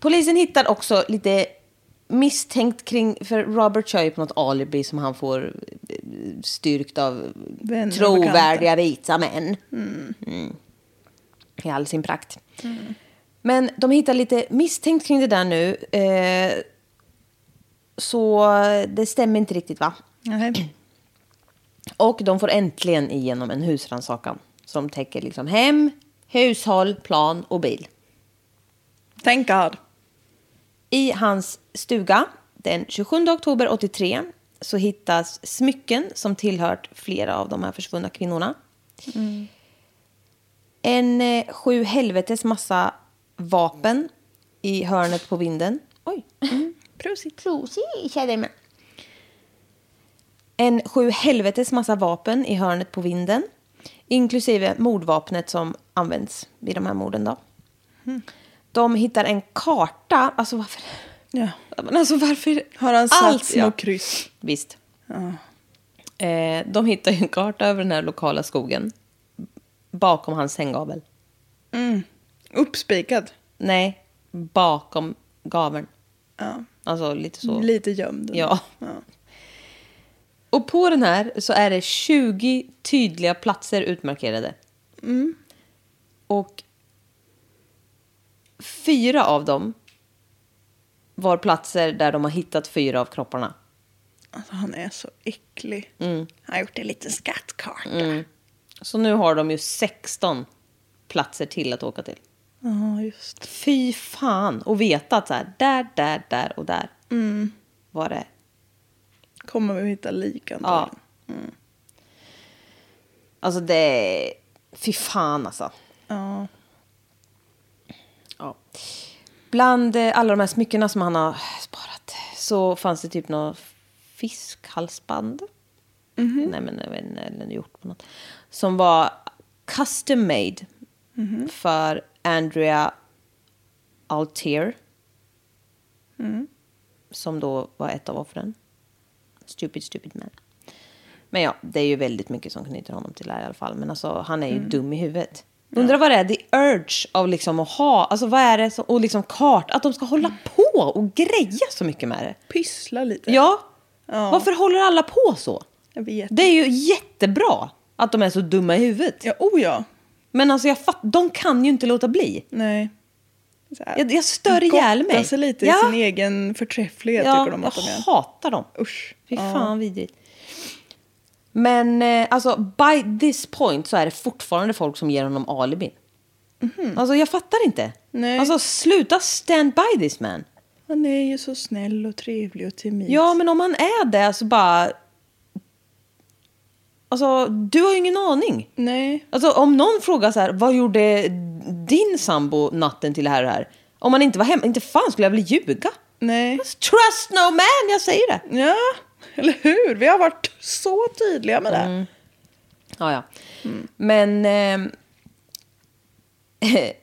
[SPEAKER 1] Polisen hittar också lite misstänkt kring... För Robert kör ju på något alibi som han får eh, styrkt av
[SPEAKER 2] Vänner och bekanta.
[SPEAKER 1] trovärdiga vita män. Mm. I all sin prakt.
[SPEAKER 2] Mm.
[SPEAKER 1] Men de hittar lite misstänkt kring det där nu. Eh, så det stämmer inte riktigt va?
[SPEAKER 2] Nej.
[SPEAKER 1] Och de får äntligen igenom en husrannsakan som täcker liksom hem, hushåll, plan och bil.
[SPEAKER 2] Thank God.
[SPEAKER 1] I hans stuga den 27 oktober 83 så hittas smycken som tillhört flera av de här försvunna kvinnorna. En eh, sju helvetes massa vapen i hörnet på vinden. Oj.
[SPEAKER 2] Prosit.
[SPEAKER 1] Prosit, känner man. En sju helvetes massa vapen i hörnet på vinden. Inklusive mordvapnet som används vid de här morden. Då. De hittar en karta. Alltså varför?
[SPEAKER 2] Ja.
[SPEAKER 1] Men alltså varför?
[SPEAKER 2] Har han satt
[SPEAKER 1] Allt,
[SPEAKER 2] små
[SPEAKER 1] ja.
[SPEAKER 2] kryss?
[SPEAKER 1] Visst. Eh, de hittar ju en karta över den här lokala skogen. Bakom hans sänggavel.
[SPEAKER 2] Uppspikad.
[SPEAKER 1] Nej, bakom gaveln.
[SPEAKER 2] Ja.
[SPEAKER 1] Alltså lite så.
[SPEAKER 2] Lite gömd.
[SPEAKER 1] Ja. Och på den här så är det 20 tydliga platser utmarkerade. Mm. Och fyra av dem var platser där de har hittat fyra av kropparna.
[SPEAKER 2] Alltså, han är så äcklig.
[SPEAKER 1] Mm.
[SPEAKER 2] Han har gjort en liten skattkarta.
[SPEAKER 1] Så nu har de ju 16 platser till att åka till.
[SPEAKER 2] Ja, just.
[SPEAKER 1] Fy fan! Och veta att så här, där, där, där och där var det
[SPEAKER 2] Mm. Kommer vi att hitta lik
[SPEAKER 1] Ja.
[SPEAKER 2] antagligen.
[SPEAKER 1] Alltså det... Fy fan alltså.
[SPEAKER 2] Ja.
[SPEAKER 1] Ja. Bland eh, alla de här smyckena som han har eh, sparat så fanns det typ något fiskhalsband. Nej men jag vet inte, eller gjort på något. Som var custom made för Andrea Altier. Som då var ett av offren. Stupid, stupid man. Men ja, det är ju väldigt mycket som knyter honom till det här i alla fall. Men alltså, han är ju
[SPEAKER 2] Mm.
[SPEAKER 1] dum i huvudet. Undrar vad det är, the urge av liksom att ha, alltså vad är det som, och liksom kart, att de ska hålla
[SPEAKER 2] Mm.
[SPEAKER 1] på och greja så mycket med det.
[SPEAKER 2] Pyssla lite.
[SPEAKER 1] Ja.
[SPEAKER 2] Ja.
[SPEAKER 1] Varför håller alla på så?
[SPEAKER 2] Jag vet.
[SPEAKER 1] Det är ju jättebra att de är så dumma i huvudet.
[SPEAKER 2] Ja, oh ja.
[SPEAKER 1] Men alltså jag fatt, de kan ju inte låta bli.
[SPEAKER 2] Nej. Så här.
[SPEAKER 1] Jag, jag stör ihjäl mig.
[SPEAKER 2] Gotta sig lite
[SPEAKER 1] ja.
[SPEAKER 2] i sin egen förträfflighet
[SPEAKER 1] ja,
[SPEAKER 2] tycker de att de
[SPEAKER 1] jag
[SPEAKER 2] gör.
[SPEAKER 1] hatar dem.
[SPEAKER 2] Usch.
[SPEAKER 1] Fy
[SPEAKER 2] Ja.
[SPEAKER 1] fan vidrigt. Men eh, alltså by this point så är det fortfarande folk som ger honom alibin. Alltså jag fattar inte.
[SPEAKER 2] Mhm. Nej.
[SPEAKER 1] Alltså sluta stand by this man.
[SPEAKER 2] Han är ju så snäll och trevlig och timid.
[SPEAKER 1] Ja men om han är det så bara... Alltså du har ju ingen aning.
[SPEAKER 2] Nej.
[SPEAKER 1] Alltså om någon frågar så här, vad gjorde din sambo natten till det här och det här? Om han inte var hemma, inte fan skulle jag väl ljuga?
[SPEAKER 2] Nej.
[SPEAKER 1] Trust no man, jag säger det.
[SPEAKER 2] Ja, eller hur? Vi har varit så tydliga med det.
[SPEAKER 1] Mm. Ja, ja.
[SPEAKER 2] Mm.
[SPEAKER 1] Men... ehm,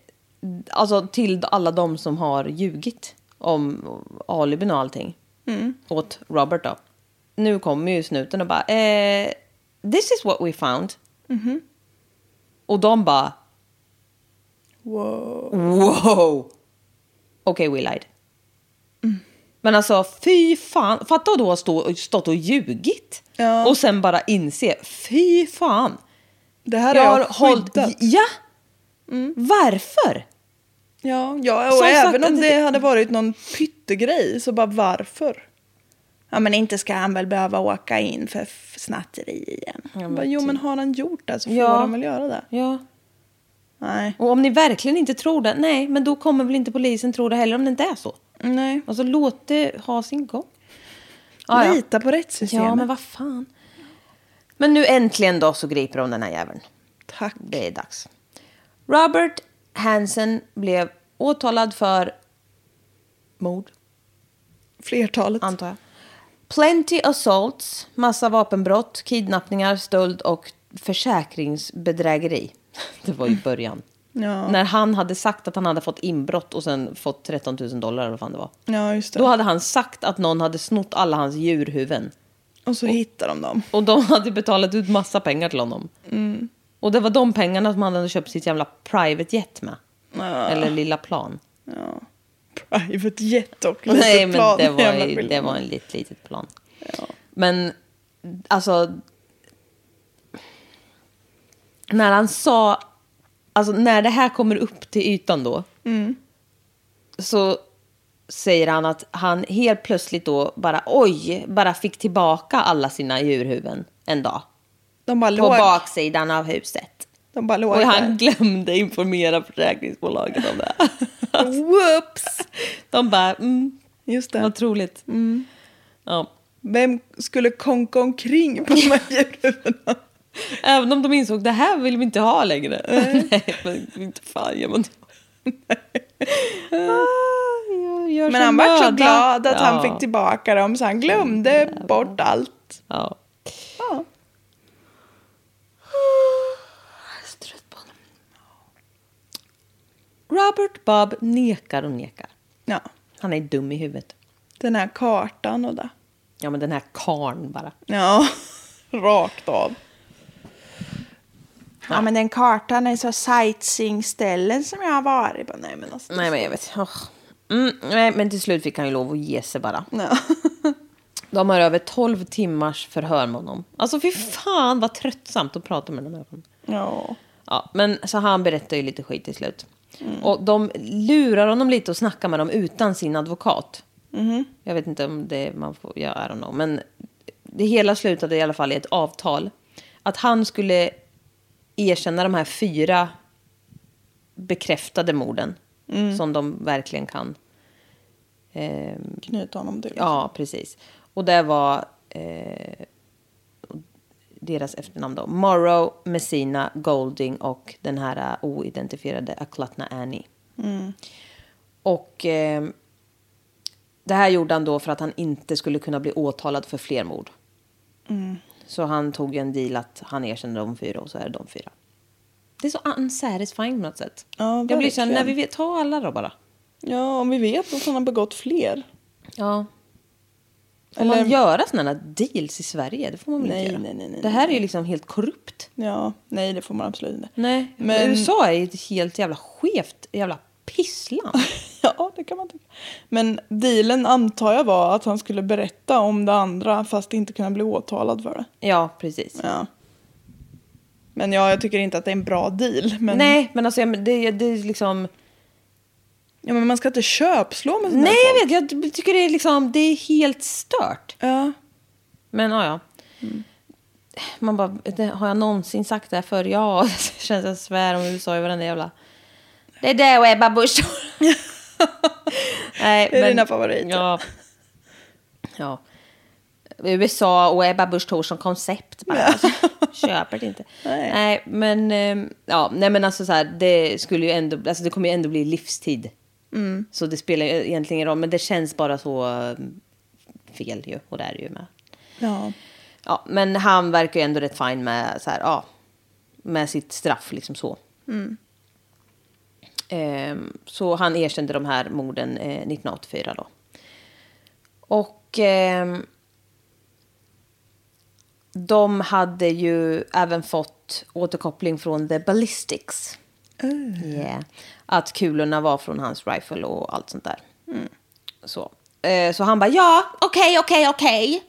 [SPEAKER 1] alltså till alla de som har ljugit om alibin och allting. Åt Robert då. Nu kommer ju snuten och bara... Eh, this is what we found. Och de bara...
[SPEAKER 2] Wow.
[SPEAKER 1] Wow! Okej, we lied. Men alltså, fy fan. Fatta då att stå, stått och ljugit.
[SPEAKER 2] Ja.
[SPEAKER 1] Och sen bara inse, fy fan.
[SPEAKER 2] Det här
[SPEAKER 1] jag Mm.
[SPEAKER 2] har
[SPEAKER 1] har
[SPEAKER 2] jag
[SPEAKER 1] hållit...
[SPEAKER 2] skyddat.
[SPEAKER 1] Ja! Varför?
[SPEAKER 2] Ja, ja och
[SPEAKER 1] Som
[SPEAKER 2] även
[SPEAKER 1] sagt,
[SPEAKER 2] om
[SPEAKER 1] det-
[SPEAKER 2] det hade varit någon pyttegrej så bara varför? Ja men inte ska han väl behöva åka in för f- snatteri igen. bara, jo men har han gjort det så får
[SPEAKER 1] typ. Ja.
[SPEAKER 2] han väl göra det.
[SPEAKER 1] Ja.
[SPEAKER 2] Nej.
[SPEAKER 1] Och om ni verkligen inte tror det, nej, men då kommer väl inte polisen tro det heller om det inte är så.
[SPEAKER 2] Nej.
[SPEAKER 1] Alltså låt det ha sin gång. Ah, ja.
[SPEAKER 2] Lita på rättssystemet.
[SPEAKER 1] Ja, men vad fan. Men nu äntligen då så griper de den här jäveln.
[SPEAKER 2] Tack.
[SPEAKER 1] Det är dags. Robert Hansen blev åtalad för mord,
[SPEAKER 2] Flertalet.
[SPEAKER 1] antar jag. Plenty assaults, massa vapenbrott, kidnappningar, stöld och försäkringsbedrägeri. Det var ju början.
[SPEAKER 2] Ja.
[SPEAKER 1] När han hade sagt att han hade fått inbrott och sen fått 13 000 dollar eller vad fan det var.
[SPEAKER 2] Ja just det.
[SPEAKER 1] Då hade han sagt att någon hade snott alla hans djurhuvuden.
[SPEAKER 2] Och så hittar de dem.
[SPEAKER 1] Och de hade betalat ut massa pengar till honom.
[SPEAKER 2] Mm.
[SPEAKER 1] Och det var de pengarna som han hade köpt sitt jävla private jet med. Eller lilla plan.
[SPEAKER 2] Ja. Private jet och litet
[SPEAKER 1] Nej, men
[SPEAKER 2] plan.
[SPEAKER 1] det var,
[SPEAKER 2] Jävla
[SPEAKER 1] ju, det
[SPEAKER 2] skillnad.
[SPEAKER 1] var en litet, litet plan. Men alltså... När han sa... Alltså när det här kommer upp till ytan då.
[SPEAKER 2] Mm.
[SPEAKER 1] Så säger han att han helt plötsligt då bara oj, bara fick tillbaka alla sina djurhuvuden en dag.
[SPEAKER 2] De bara
[SPEAKER 1] På
[SPEAKER 2] låg,
[SPEAKER 1] baksidan av huset.
[SPEAKER 2] de bara låg
[SPEAKER 1] Och han
[SPEAKER 2] där.
[SPEAKER 1] glömde informera försäkringsbolaget om det. Whoops! De bara, mm,
[SPEAKER 2] Just det.
[SPEAKER 1] vad troligt. Ja.
[SPEAKER 2] Vem skulle konka omkring på de här djurhuvudena?
[SPEAKER 1] Även om de insåg det här vill vi inte ha längre. Nej, men inte fan gör man det. Ah, jag gör
[SPEAKER 2] Men
[SPEAKER 1] så
[SPEAKER 2] han var så
[SPEAKER 1] möda.
[SPEAKER 2] glad att han
[SPEAKER 1] Ja,
[SPEAKER 2] fick tillbaka dem så han glömde bort allt.
[SPEAKER 1] Ja.
[SPEAKER 2] Ja.
[SPEAKER 1] Robert Bob nekar och nekar.
[SPEAKER 2] ja.
[SPEAKER 1] Han är dum i huvudet.
[SPEAKER 2] Den här kartan och det.
[SPEAKER 1] Ja, men den här karn bara.
[SPEAKER 2] Ja, rakt av. Ja, men den kartan är så sightseeing-ställen som jag har varit på. Nej, men alltså.
[SPEAKER 1] Nej, men jag vet. Åh. Mm, nej, men till slut fick han ju lov att ge sig bara.
[SPEAKER 2] Ja.
[SPEAKER 1] De har över 12 timmars förhör med honom. Alltså, fy fan vad tröttsamt att prata med den här människan.
[SPEAKER 2] ja.
[SPEAKER 1] Ja, men så han berättar ju lite skit till slut. Och de lurar honom lite och snackar med dem utan sin advokat. Jag vet inte om det man får, jag I don't know. Men det hela slutade i alla fall i ett avtal. Att han skulle erkänna de här fyra bekräftade morden. Som de verkligen kan. Ehm,
[SPEAKER 2] Knyta honom till.
[SPEAKER 1] Ja,
[SPEAKER 2] liksom.
[SPEAKER 1] precis. Och det var eh, deras efternamn då. Morrow, Messina, Golding och den här eh, oidentifierade Aklatna Annie.
[SPEAKER 2] Mm.
[SPEAKER 1] Och eh, det här gjorde han då för att han inte skulle kunna bli åtalad för fler mord.
[SPEAKER 2] Mm.
[SPEAKER 1] Så han tog ju en deal att han erkänner de fyra och så är det de fyra. Det är så unsatisfying på något sätt.
[SPEAKER 2] Ja,
[SPEAKER 1] Jag blir så här,
[SPEAKER 2] verkligen.
[SPEAKER 1] när vi vet, ta alla då bara.
[SPEAKER 2] ja, om vi vet att han har begått fler.
[SPEAKER 1] Ja. Får
[SPEAKER 2] Eller-
[SPEAKER 1] man göra sådana deals i Sverige? Det får man väl
[SPEAKER 2] Nej,
[SPEAKER 1] inte göra?
[SPEAKER 2] nej, nej, nej,
[SPEAKER 1] det här är ju liksom helt korrupt.
[SPEAKER 2] Ja, nej, det får man absolut inte.
[SPEAKER 1] Nej,
[SPEAKER 2] Men-
[SPEAKER 1] men... USA är ju ett helt jävla skevt jävla pissland.
[SPEAKER 2] Ja, det kan man tycka. Men dealen antar jag var att han skulle berätta om det andra fast inte kunna bli åtalad för det.
[SPEAKER 1] ja, precis.
[SPEAKER 2] Ja. Men ja, jag tycker inte att det är en bra deal. Men,
[SPEAKER 1] Nej, men alltså jag- men det, det är liksom...
[SPEAKER 2] Ja, men man ska inte köpslå med sådana
[SPEAKER 1] Nej,
[SPEAKER 2] här
[SPEAKER 1] jag vet. Jag tycker det är liksom... Det är helt stört.
[SPEAKER 2] Ja.
[SPEAKER 1] Men ja, ja.
[SPEAKER 2] Mm.
[SPEAKER 1] Man bara, det, har jag någonsin sagt det här förr? Ja, det känns jag svär om USA i varenda jävla... Det är det och Ebba Busch. Nej,
[SPEAKER 2] Det är dina favoriter.
[SPEAKER 1] Ja. ja. USA och Ebba Busch Thor som koncept bara. Alltså, köper det inte.
[SPEAKER 2] Nej.
[SPEAKER 1] men, eh, ja, nej, men alltså så här, det skulle ju ändå, alltså det kommer ju ändå bli livstid.
[SPEAKER 2] Mm.
[SPEAKER 1] Så det spelar ju egentligen ingen roll, men det känns bara så eh, fel ju, och det är det ju med.
[SPEAKER 2] Ja.
[SPEAKER 1] Ja, men han verkar ju ändå rätt fin med, så här, ja, med sitt straff. liksom Så Ehm, Så han erkände de här morden eh, 1984. Då. Och ehm, de hade ju även fått återkoppling från The Ballistics. Yeah. Att kulorna var från hans rifle och allt sånt där. Så. Eh, så han bara, ja, okej, okej, okej.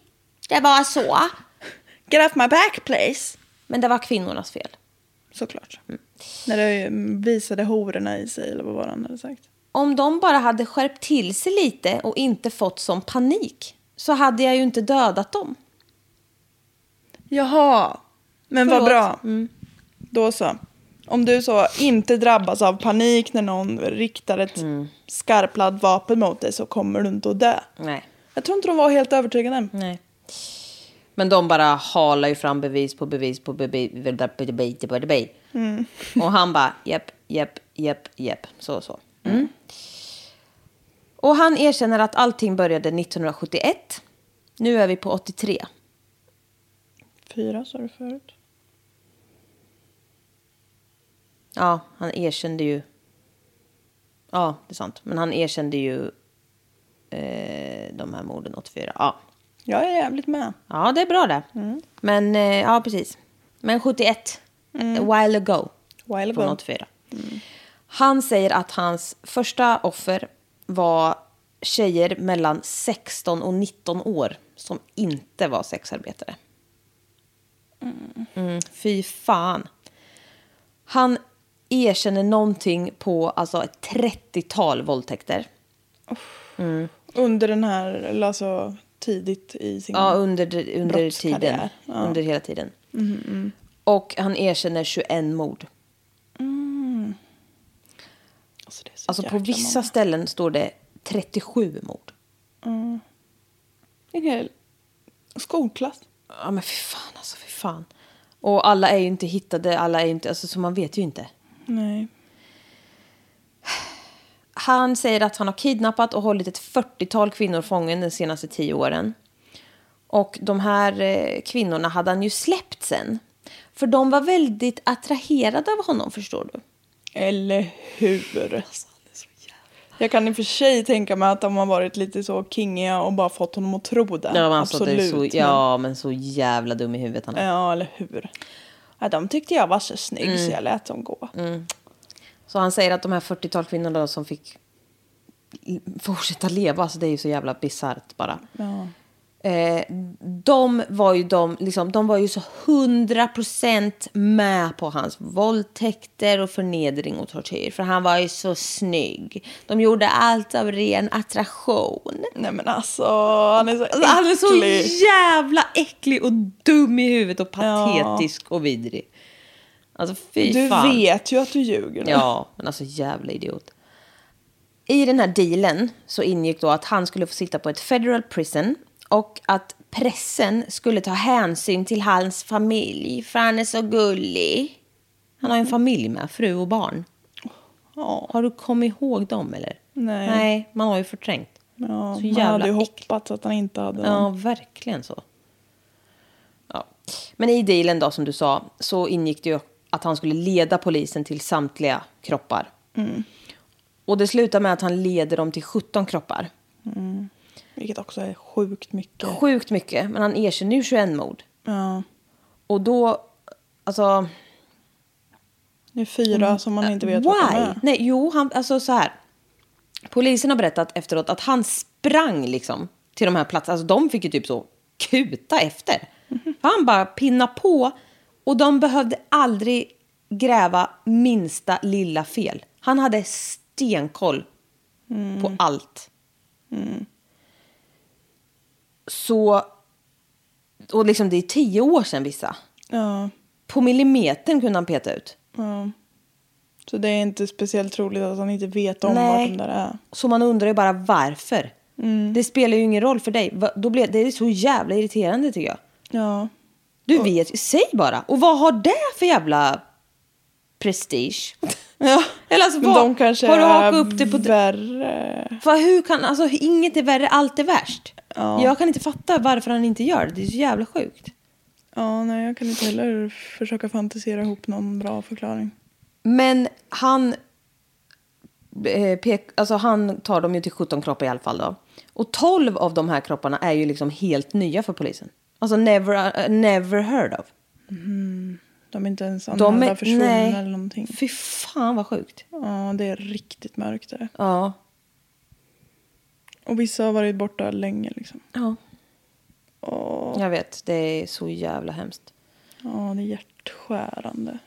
[SPEAKER 1] Det var så.
[SPEAKER 2] Get off my back please. Mm.
[SPEAKER 1] Men det var kvinnornas fel.
[SPEAKER 2] Såklart. När det visade hororna i sig eller vad var det han hade sagt.
[SPEAKER 1] Om de bara hade skärpt till sig lite och inte fått sån panik så hade jag ju inte dödat dem.
[SPEAKER 2] Jaha. Men vad
[SPEAKER 1] Förlåt. Mm.
[SPEAKER 2] bra. Då så. Om du så inte drabbas av panik när någon riktar ett
[SPEAKER 1] Mm.
[SPEAKER 2] skarpladd vapen mot dig så kommer du inte att dö.
[SPEAKER 1] Nej.
[SPEAKER 2] Jag tror inte de var helt övertygade.
[SPEAKER 1] Nej. Men de bara halar ju fram bevis på bevis på bevis. Mm. Och han bara japp, japp, japp, japp. Så så. Mm. Och han erkänner att allting började 1971. Nu är vi på 83.
[SPEAKER 2] Fyra sa du förut.
[SPEAKER 1] Ja, han erkände ju. Ja, det är sant. Men han erkände ju eh, de här morden 84. Ja.
[SPEAKER 2] Jag är jävligt med.
[SPEAKER 1] ja, det är bra det.
[SPEAKER 2] Mm.
[SPEAKER 1] Men eh, ja, precis. Men 71, a while ago.
[SPEAKER 2] Mm. While
[SPEAKER 1] Från
[SPEAKER 2] ago. Mm.
[SPEAKER 1] 84. Han säger att hans första offer var tjejer mellan 16 och 19 år som inte var sexarbetare. Mm, fy fan. Han erkänner någonting på alltså, ett 30-tal våldtäkter.
[SPEAKER 2] Under den här, eller alltså tidigt i sin...
[SPEAKER 1] Ja, under, under
[SPEAKER 2] Brottskarriär.
[SPEAKER 1] tiden.
[SPEAKER 2] Ja.
[SPEAKER 1] Under hela tiden. Mm-hmm. Och han erkänner 21 mord.
[SPEAKER 2] Alltså, det är så
[SPEAKER 1] Alltså på
[SPEAKER 2] jäkla
[SPEAKER 1] vissa
[SPEAKER 2] många.
[SPEAKER 1] ställen står det 37 mord.
[SPEAKER 2] En hel skolklass.
[SPEAKER 1] Ja men fy fan alltså, fy fan. Och alla är ju inte hittade, alla är ju inte, alltså så man vet ju inte.
[SPEAKER 2] Nej.
[SPEAKER 1] Han säger att han har kidnappat och hållit ett 40-tal kvinnor fången de senaste tio åren. Och de här eh, kvinnorna hade han ju släppt sen. För de var väldigt attraherade av honom, förstår du.
[SPEAKER 2] Eller
[SPEAKER 1] Alltså,
[SPEAKER 2] hur? Jag kan i och för sig tänka mig att de har varit lite så kingiga och bara fått honom att tro det.
[SPEAKER 1] alltså, så, ja, men så jävla dum i huvudet han är.
[SPEAKER 2] men, ja, eller hur? Ja, de tyckte jag var så snygg
[SPEAKER 1] Mm.
[SPEAKER 2] så jag lät dem gå.
[SPEAKER 1] Så han säger att de här 40-tal kvinnorna då som fick l- fortsätta leva, alltså det är ju så jävla bisarrt bara.
[SPEAKER 2] Ja.
[SPEAKER 1] Eh, de var ju de, liksom, de var ju så 100% med på hans våldtäkter och förnedring och tortyr. För han var ju så snygg. De gjorde allt av ren attraktion.
[SPEAKER 2] Nej men alltså, han är så
[SPEAKER 1] Alltså, han är så
[SPEAKER 2] äcklig.
[SPEAKER 1] jävla äcklig och dum i huvudet och patetisk och vidrig. Alltså fy
[SPEAKER 2] Du
[SPEAKER 1] fan.
[SPEAKER 2] vet ju att du ljuger. nu.
[SPEAKER 1] Ja, men alltså jävla idiot. I den här dealen så ingick då att han skulle få sitta på ett federal prison och att pressen skulle ta hänsyn till hans familj för han är så gullig. Han har ju en familj med, fru och barn.
[SPEAKER 2] Ja.
[SPEAKER 1] Har du kommit ihåg dem eller?
[SPEAKER 2] Nej.
[SPEAKER 1] Nej, man har ju förträngt.
[SPEAKER 2] Ja,
[SPEAKER 1] Så
[SPEAKER 2] man
[SPEAKER 1] jävla
[SPEAKER 2] hade ju
[SPEAKER 1] äckligt.
[SPEAKER 2] hoppats att han inte hade
[SPEAKER 1] Ja,
[SPEAKER 2] någon.
[SPEAKER 1] verkligen så. Ja. Men i dealen då, som du sa, så ingick det ju att han skulle leda polisen till samtliga kroppar. Och det slutar med att han leder dem till 17 kroppar.
[SPEAKER 2] Vilket också är sjukt mycket.
[SPEAKER 1] Sjukt mycket, men han erkänner ju 21 mord.
[SPEAKER 2] Ja.
[SPEAKER 1] Och då, alltså...
[SPEAKER 2] Det är fyra som man inte vet vad de
[SPEAKER 1] Mm. why?
[SPEAKER 2] är.
[SPEAKER 1] Nej, jo, han, alltså så här. Polisen har berättat efteråt att han sprang liksom till de här platserna. Alltså de fick ju typ så kuta efter.
[SPEAKER 2] Mhm.
[SPEAKER 1] För han bara pinna på och de behövde aldrig gräva minsta lilla fel. Han hade stenkoll på
[SPEAKER 2] Mm.
[SPEAKER 1] allt. Så, och liksom det är tio år sedan vissa.
[SPEAKER 2] Ja.
[SPEAKER 1] På millimetern kunde han peta ut.
[SPEAKER 2] ja. Så det är inte speciellt troligt att han inte vet om
[SPEAKER 1] Nej.
[SPEAKER 2] vart de där är. Mm.
[SPEAKER 1] Så man undrar ju bara varför. Det spelar ju ingen roll för dig. Va- Då blir, det är så jävla irriterande tycker jag.
[SPEAKER 2] Ja.
[SPEAKER 1] Du vet ju, säg bara. Och vad har det för jävla prestige?
[SPEAKER 2] ja.
[SPEAKER 1] Eller alltså,
[SPEAKER 2] Men
[SPEAKER 1] vad,
[SPEAKER 2] de kanske
[SPEAKER 1] har du hakat
[SPEAKER 2] är
[SPEAKER 1] upp det på...
[SPEAKER 2] värre.
[SPEAKER 1] För hur kan, alltså, inget är värre, allt är värst. Jag kan inte fatta varför han inte gör det. Det är så jävla sjukt.
[SPEAKER 2] Ja, nej, jag kan inte heller försöka fantisera ihop någon bra förklaring.
[SPEAKER 1] Men han, eh, pek, alltså han tar dem ju till 17 kroppar i alla fall då. Och 12 av de här kropparna är ju liksom helt nya för polisen. Alltså never, eh, never heard of.
[SPEAKER 2] De är inte ens
[SPEAKER 1] De
[SPEAKER 2] anmälda,
[SPEAKER 1] är,
[SPEAKER 2] försvunna
[SPEAKER 1] nej.
[SPEAKER 2] eller någonting.
[SPEAKER 1] Fy fan vad sjukt.
[SPEAKER 2] Ja, det är riktigt mörkt det.
[SPEAKER 1] Ja.
[SPEAKER 2] Och vissa har varit borta länge liksom.
[SPEAKER 1] ja.
[SPEAKER 2] Åh,
[SPEAKER 1] Jag vet, det är så jävla hemskt.
[SPEAKER 2] ja, det är hjärtskärande.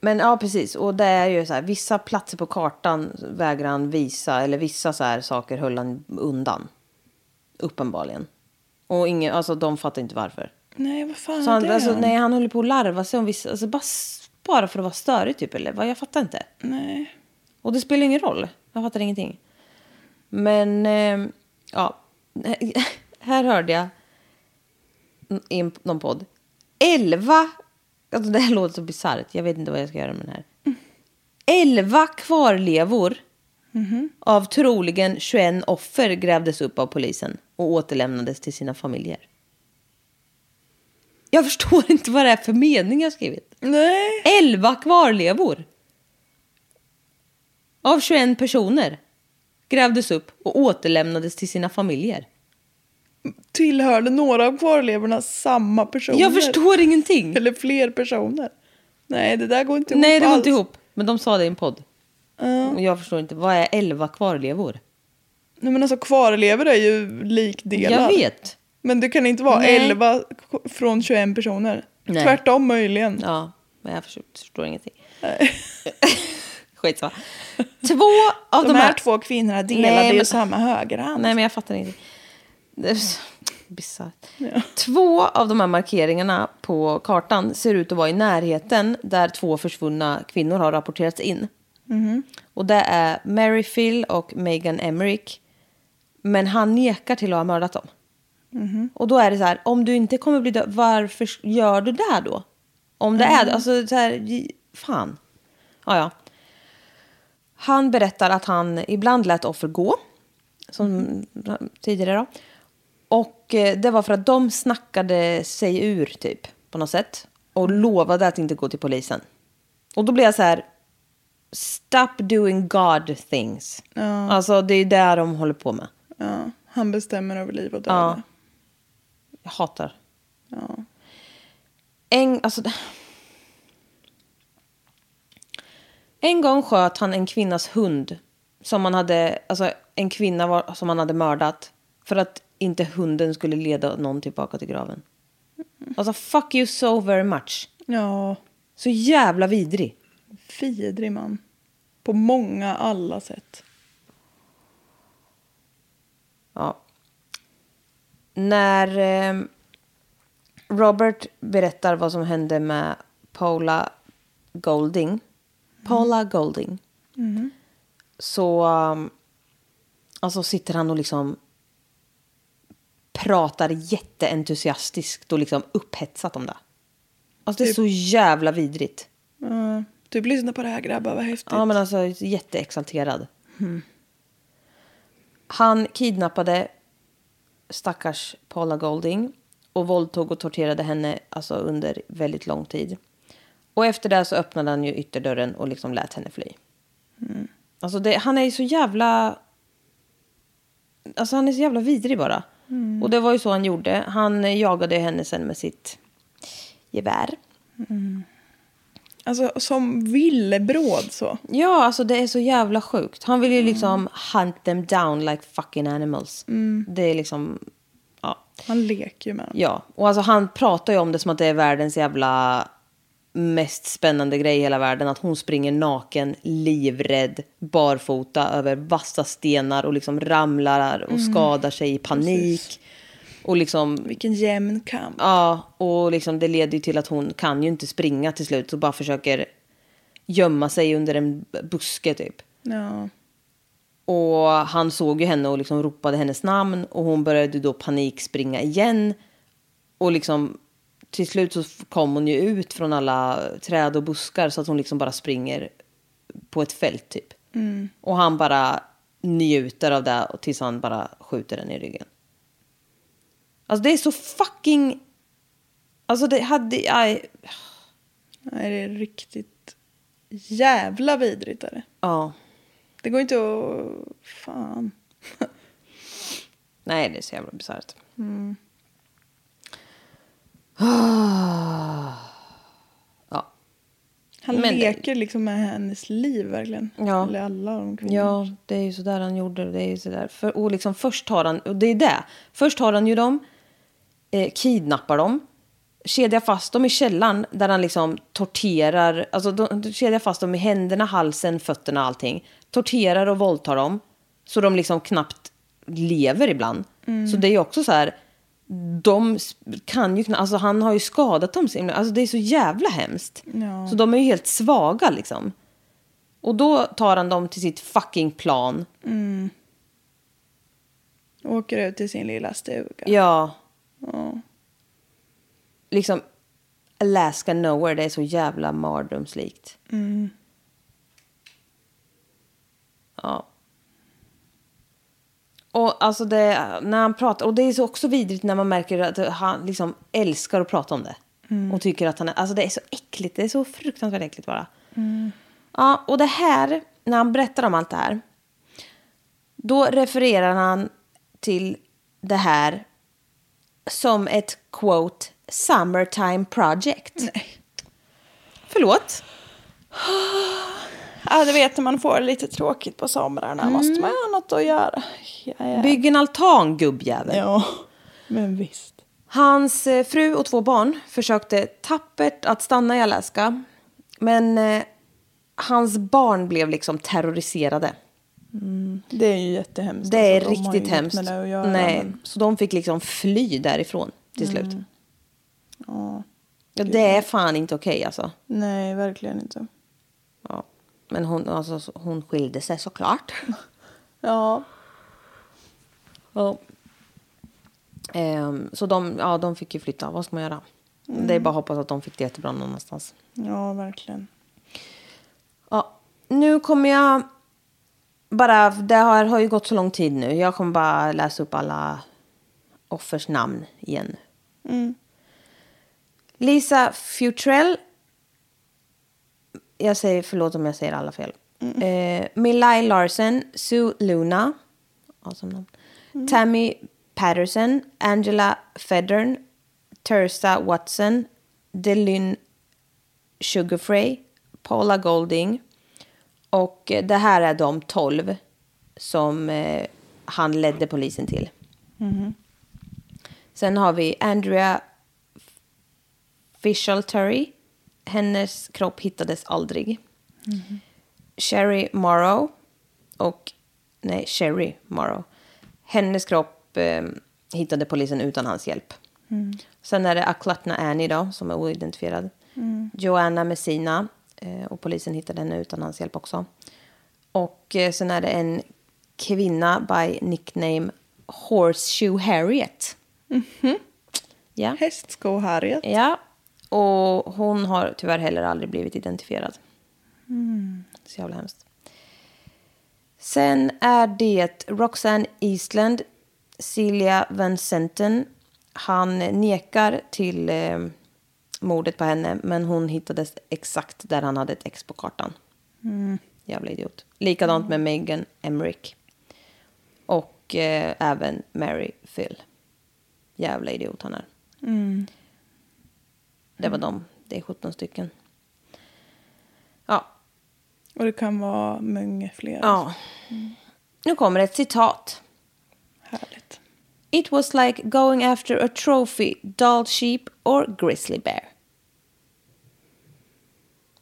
[SPEAKER 1] Men ja, precis. Och det är ju så här, vissa platser på kartan vägrar han visa. Eller vissa så här saker höll han undan. Uppenbarligen. Och ingen, alltså de fattar inte varför.
[SPEAKER 2] Nej, vad fan
[SPEAKER 1] Så
[SPEAKER 2] är
[SPEAKER 1] han,
[SPEAKER 2] det?
[SPEAKER 1] alltså, nej, han håller på att larva sig om vissa, alltså, bara, s- bara för att vara störig typ, eller vad? Jag fattar inte.
[SPEAKER 2] nej.
[SPEAKER 1] Och det spelar ingen roll. Jag fattar ingenting. Men, eh, ja. Här hörde jag i en- någon podd. Elva, alltså det här låter så bisarrt, jag vet inte vad jag ska göra med den här. Elva kvarlevor av troligen 21 offer grävdes upp av polisen och återlämnades till sina familjer. Jag förstår inte vad det är för mening jag har skrivit.
[SPEAKER 2] Nej.
[SPEAKER 1] Elva kvarlevor. Av 21 personer grävdes upp och återlämnades till sina familjer.
[SPEAKER 2] Tillhörde några av kvarlevorna samma personer?
[SPEAKER 1] Jag förstår ingenting.
[SPEAKER 2] Eller fler personer? Nej, det där går inte ihop
[SPEAKER 1] Nej, det går inte
[SPEAKER 2] alls.
[SPEAKER 1] ihop. Men de sa det i en podd. Och jag förstår inte. Vad är elva kvarlevor?
[SPEAKER 2] Nej, men alltså kvarlevor är ju likdelar.
[SPEAKER 1] Jag vet.
[SPEAKER 2] Men det kan inte vara
[SPEAKER 1] Nej.
[SPEAKER 2] 11 k- från 21 personer.
[SPEAKER 1] Nej.
[SPEAKER 2] Tvärtom möjligen.
[SPEAKER 1] Ja, men jag förstår, förstår ingenting. Skitsamma. Två av
[SPEAKER 2] De,
[SPEAKER 1] de,
[SPEAKER 2] här, två kvinnorna delade
[SPEAKER 1] Nej,
[SPEAKER 2] ju
[SPEAKER 1] men-
[SPEAKER 2] samma högerhand.
[SPEAKER 1] Nej, men jag fattar inte. Det är så Bisarrt. Två av de här markeringarna på kartan ser ut att vara i närheten där två försvunna kvinnor har rapporterats in. Och det är Mary Phil och Megan Emmerich. Men han nekar till att ha mördat dem. Och då är det så här, om du inte kommer bli död, varför gör du det då? Om det är det, alltså så här, j- fan. Ja, ja. Han berättar att han ibland lät offer gå, som tidigare då. Och eh, det var för att de snackade sig ur typ, på något sätt. Och lovade att inte gå till polisen. Och då blev jag så här, stop doing God things. Alltså det är ju det de håller på med.
[SPEAKER 2] Ja, han bestämmer över liv och död.
[SPEAKER 1] Ja. Jag hatar. En, alltså, en gång sköt han en kvinnas hund. Som man hade, alltså, en kvinna var, som han hade mördat. För att inte hunden skulle leda någon tillbaka till graven. Alltså fuck you so very much.
[SPEAKER 2] ja.
[SPEAKER 1] Så jävla vidrig.
[SPEAKER 2] Vidrig man. På många, alla sätt.
[SPEAKER 1] Ja. När eh, Robert berättar vad som hände med Paula Golding. Paula Golding. Så um, alltså sitter han och liksom pratar jätteentusiastiskt och liksom upphetsat om det. Alltså det är så jävla vidrigt.
[SPEAKER 2] Ja. Typ lyssna på det här grabbar, vad häftigt.
[SPEAKER 1] Ja, men alltså jätteexalterad. Han kidnappade stackars Paula Golding och våldtog och torterade henne alltså, under väldigt lång tid. Och efter det så öppnade han ju ytterdörren och liksom lät henne fly. Alltså det, han är ju så jävla... Alltså han är så jävla vidrig bara. Och det var ju så han gjorde. Han jagade henne sen med sitt gevär.
[SPEAKER 2] Alltså som villebråd så.
[SPEAKER 1] Ja, alltså det är så jävla sjukt. Han vill ju liksom hunt them down like fucking animals. Det är liksom, ja.
[SPEAKER 2] Han leker ju med dem.
[SPEAKER 1] ja. Och alltså han pratar ju om det som att det är världens jävla mest spännande grej i hela världen. Att hon springer naken, livrädd, barfota över vassa stenar och liksom ramlar och skadar sig i panik. Och liksom
[SPEAKER 2] Vilken jämn kamp.
[SPEAKER 1] Ja, och liksom det leder ju till att hon kan ju inte springa till slut och bara försöker gömma sig under en buske typ.
[SPEAKER 2] Ja.
[SPEAKER 1] Och han såg ju henne och liksom ropade hennes namn och hon började då panikspringa igen. Och liksom till slut så kom hon ju ut från alla träd och buskar så att hon liksom bara springer på ett fält typ. Och han bara njuter av det och tills han bara skjuter den i ryggen. Alltså det är så fucking... Alltså det hade... Aj,
[SPEAKER 2] Nej, det är riktigt jävla vidrigt är det.
[SPEAKER 1] ja.
[SPEAKER 2] Det går inte att... Fan.
[SPEAKER 1] Nej, det är så jävla bisarrt. ja.
[SPEAKER 2] Han
[SPEAKER 1] Men-
[SPEAKER 2] leker liksom med hennes liv verkligen.
[SPEAKER 1] Ja.
[SPEAKER 2] Eller alla de kvinnorna.
[SPEAKER 1] ja, det är ju sådär han gjorde. Det är ju sådär. För, och liksom först har han, och det är det. Först har han ju dem, eh, kidnappar dem, kedjar fast dem i källaren där han liksom torterar, alltså de, de kedjar fast dem i händerna, halsen, fötterna, allting. Torterar och våldtar dem så de liksom knappt lever ibland. Så det är ju också så här, de sp- kan ju knappt, alltså han har ju skadat dem så himla, alltså det är så jävla hemskt.
[SPEAKER 2] Ja.
[SPEAKER 1] Så de är ju helt svaga liksom. Och då tar han dem till sitt fucking plan.
[SPEAKER 2] Och Åker ut till sin lilla stuga.
[SPEAKER 1] Ja.
[SPEAKER 2] Ja.
[SPEAKER 1] Liksom Alaska Nowhere, det är så jävla mardrömslikt. Ja. Och alltså det, när han pratar, och det är så också vidrigt när man märker att han liksom älskar att prata om det. Och tycker att han är, alltså det är så äckligt, det är så fruktansvärt äckligt bara. Ja, och det här, när han berättar om allt det här. Då refererar han till det här som ett quote summertime project. Nej. Förlåt?
[SPEAKER 2] Ja, du vet när man får det lite tråkigt på somrarna.
[SPEAKER 1] Mm.
[SPEAKER 2] Måste man ha något att göra? Ja, ja.
[SPEAKER 1] Bygg en altan gubbjävel.
[SPEAKER 2] ja. men visst.
[SPEAKER 1] Hans eh, fru och två barn försökte tappert att stanna i Alaska. Men eh, hans barn blev liksom terroriserade.
[SPEAKER 2] Det är ju jättehemskt.
[SPEAKER 1] Det är
[SPEAKER 2] Alltså, de har ju
[SPEAKER 1] riktigt
[SPEAKER 2] inget
[SPEAKER 1] hemskt.
[SPEAKER 2] Med det att göra,
[SPEAKER 1] Nej.
[SPEAKER 2] men- Mm.
[SPEAKER 1] Så de fick liksom fly därifrån till slut. Ja, det är fan inte okej alltså.
[SPEAKER 2] Nej, verkligen inte.
[SPEAKER 1] Ja. Men hon, alltså, hon skilde sig såklart.
[SPEAKER 2] Ja.
[SPEAKER 1] Ja. Ehm, så de, ja, de fick ju flytta. Vad ska man göra? Det är bara att hoppas att de fick det jättebra någon annanstans.
[SPEAKER 2] Ja, verkligen.
[SPEAKER 1] Ja, nu kommer jag bara, det har, har ju gått så lång tid nu. Jag kommer bara läsa upp alla offers namn igen. Lisa Futrell. Jag säger, förlåt om jag säger alla fel. Eh, Milai Larsen, Sue Luna. Awesome namn. Tammy Patterson, Angela Federn, Tersa Watson, Delyn Sugarfrey, Paula Golding. Och eh, det här är de tolv som eh, han ledde polisen till. Sen har vi Andrea Fishelterry. Hennes kropp hittades aldrig. Sherry Morrow och... Nej, Sherry Morrow. Hennes kropp eh, hittade polisen utan hans hjälp. Sen är det Aklatna Annie då, som är oidentifierad. Joanna Messina. Eh, och polisen hittade henne utan hans hjälp också. Och eh, sen är det en kvinna by nickname Horseshoe Harriet. Ja.
[SPEAKER 2] Hästsko-Harriet.
[SPEAKER 1] Ja, och hon har tyvärr heller aldrig blivit identifierad. Så jävla hemskt. Sen är det Roxanne Eastland, Celia Vincenten. Han nekar till eh, mordet på henne, men hon hittades exakt där han hade ett X på kartan. Jävla idiot. Likadant med Megan Emmerich. Och eh, även Mary Phil. Jävla idiot han är. Det var de. Det är 17 stycken. Ja.
[SPEAKER 2] Och det kan vara många fler.
[SPEAKER 1] ja. Nu kommer ett citat.
[SPEAKER 2] Härligt.
[SPEAKER 1] It was like going after a trophy, doll sheep or grizzly bear.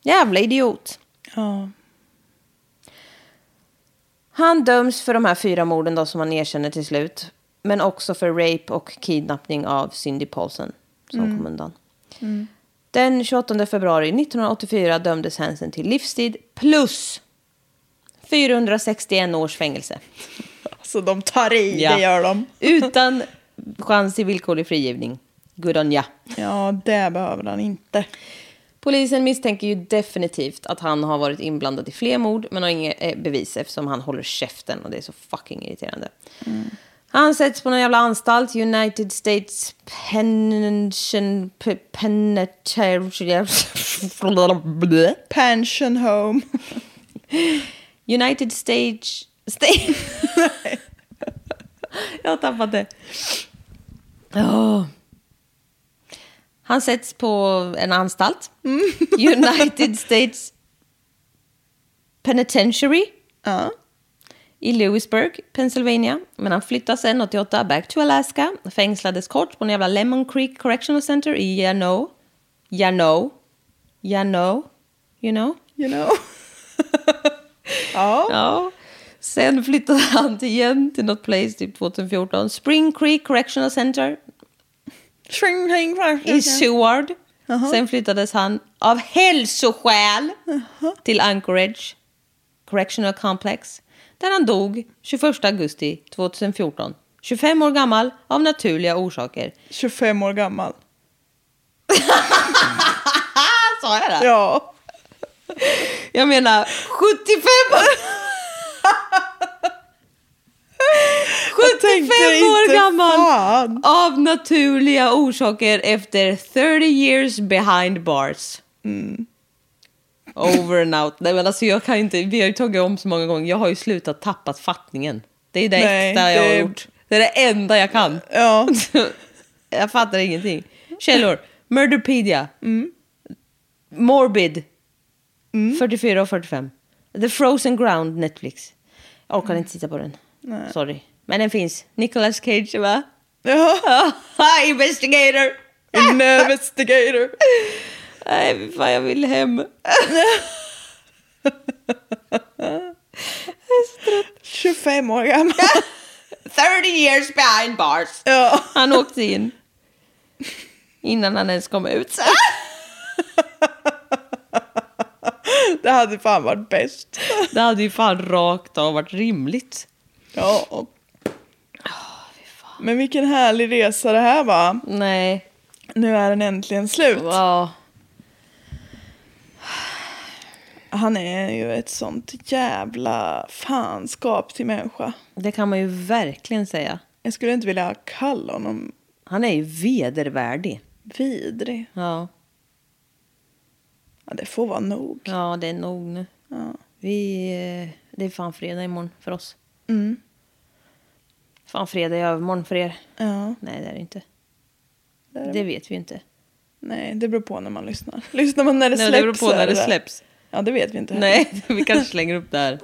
[SPEAKER 1] Jävla idiot.
[SPEAKER 2] Ja.
[SPEAKER 1] Han döms för de här fyra morden då som han erkänner till slut. Men också för rape och kidnappning av Cindy Paulsen som
[SPEAKER 2] Mm.
[SPEAKER 1] kom undan. Den 28 februari 1984 dömdes Hansen till livstid plus 461 års fängelse.
[SPEAKER 2] Alltså de tar i,
[SPEAKER 1] Ja.
[SPEAKER 2] det gör de.
[SPEAKER 1] Utan chans till villkorlig frigivning. Good on ya.
[SPEAKER 2] Ja, det behöver han inte.
[SPEAKER 1] Polisen misstänker ju definitivt att han har varit inblandad i fler mord men har inga eh, bevis eftersom han håller käften och det är så fucking irriterande. Han sätts på någon jävla anstalt, United States Pension... Pe- Penitentiary...
[SPEAKER 2] Pension home.
[SPEAKER 1] United Stage... Stage... Jag har tappat det. Åh. Han sätts på en anstalt. United States Penitentiary
[SPEAKER 2] Ja.
[SPEAKER 1] i Lewisburg, Pennsylvania. Men han flyttas sen 88 back to Alaska. Fängslades kort på en jävla Lemon Creek Correctional Center i Yano. Yano. Yano. You know?
[SPEAKER 2] You know. ja.
[SPEAKER 1] Ja. Sen flyttade han till igen till något place typ 2014. Spring Creek Correctional Center
[SPEAKER 2] Tring, tring, tring, tring.
[SPEAKER 1] i Seward. Sen flyttades han av hälsoskäl till Anchorage Correctional Complex. Där han dog 21 augusti 2014. 25 år gammal av naturliga orsaker.
[SPEAKER 2] 25 år gammal.
[SPEAKER 1] Sa jag det?
[SPEAKER 2] Ja.
[SPEAKER 1] Jag menar 75 år! 75
[SPEAKER 2] tänkte
[SPEAKER 1] år
[SPEAKER 2] inte,
[SPEAKER 1] gammal
[SPEAKER 2] fan.
[SPEAKER 1] av naturliga orsaker efter 30 years behind bars. Mm. Over and out. Nej men alltså jag kan inte, vi har ju tagit om så många gånger, jag har ju slutat tappat fattningen. Det är det
[SPEAKER 2] Nej,
[SPEAKER 1] enda jag har
[SPEAKER 2] det-
[SPEAKER 1] gjort. Det är det enda jag kan.
[SPEAKER 2] Ja.
[SPEAKER 1] jag fattar ingenting. Källor, Murderpedia, Mm. Morbid, 44 och 45. The Frozen Ground, Netflix. Jag orkar inte titta på den. Sorry. Men den finns. Nicolas Cage, va? Ah,
[SPEAKER 2] ja.
[SPEAKER 1] Investigator!
[SPEAKER 2] Investigator.
[SPEAKER 1] Nej, fy fan, jag vill hem. Jag är så trött.
[SPEAKER 2] 25 år gammal.
[SPEAKER 1] 30 years behind bars.
[SPEAKER 2] Ja.
[SPEAKER 1] Han åkte in. Innan han ens kom ut.
[SPEAKER 2] Det hade fan varit bäst.
[SPEAKER 1] Det hade ju fan rakt av varit rimligt.
[SPEAKER 2] Ja. Men vilken härlig resa det här var.
[SPEAKER 1] Nej.
[SPEAKER 2] Nu är den äntligen slut.
[SPEAKER 1] Ja.
[SPEAKER 2] Han är ju ett sånt jävla fanskap till människa.
[SPEAKER 1] Det kan man ju verkligen säga.
[SPEAKER 2] Jag skulle inte vilja kalla honom
[SPEAKER 1] Han är ju vedervärdig.
[SPEAKER 2] vidrig.
[SPEAKER 1] Ja.
[SPEAKER 2] Ja, det får vara nog.
[SPEAKER 1] Ja, det är nog nu.
[SPEAKER 2] Ja.
[SPEAKER 1] Vi, eh, det är fan fredag imorgon för oss.
[SPEAKER 2] Mm.
[SPEAKER 1] Fan fredag i övermorgon för er.
[SPEAKER 2] Ja.
[SPEAKER 1] Nej, det är det inte.
[SPEAKER 2] är det.
[SPEAKER 1] Det vet vi ju inte.
[SPEAKER 2] Nej, det beror på när man lyssnar. Lyssnar man när det
[SPEAKER 1] Nej,
[SPEAKER 2] släpps?
[SPEAKER 1] det beror på
[SPEAKER 2] är
[SPEAKER 1] när det
[SPEAKER 2] där.
[SPEAKER 1] släpps.
[SPEAKER 2] Ja, det vet vi inte. heller.
[SPEAKER 1] Nej, vi kanske slänger upp det här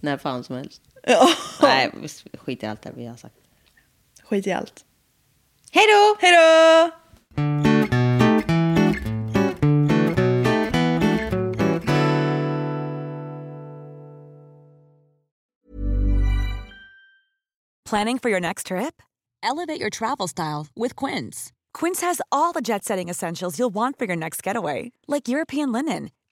[SPEAKER 1] när fan som helst.
[SPEAKER 2] Ja.
[SPEAKER 1] Nej, skit i allt det vi har sagt.
[SPEAKER 2] Skit i allt.
[SPEAKER 1] Hej då!
[SPEAKER 2] Hej då!
[SPEAKER 3] Planning for your next trip?
[SPEAKER 4] Elevate your travel style with Quince.
[SPEAKER 3] Quince has all the jet setting essentials you'll want for your next getaway, like European linen,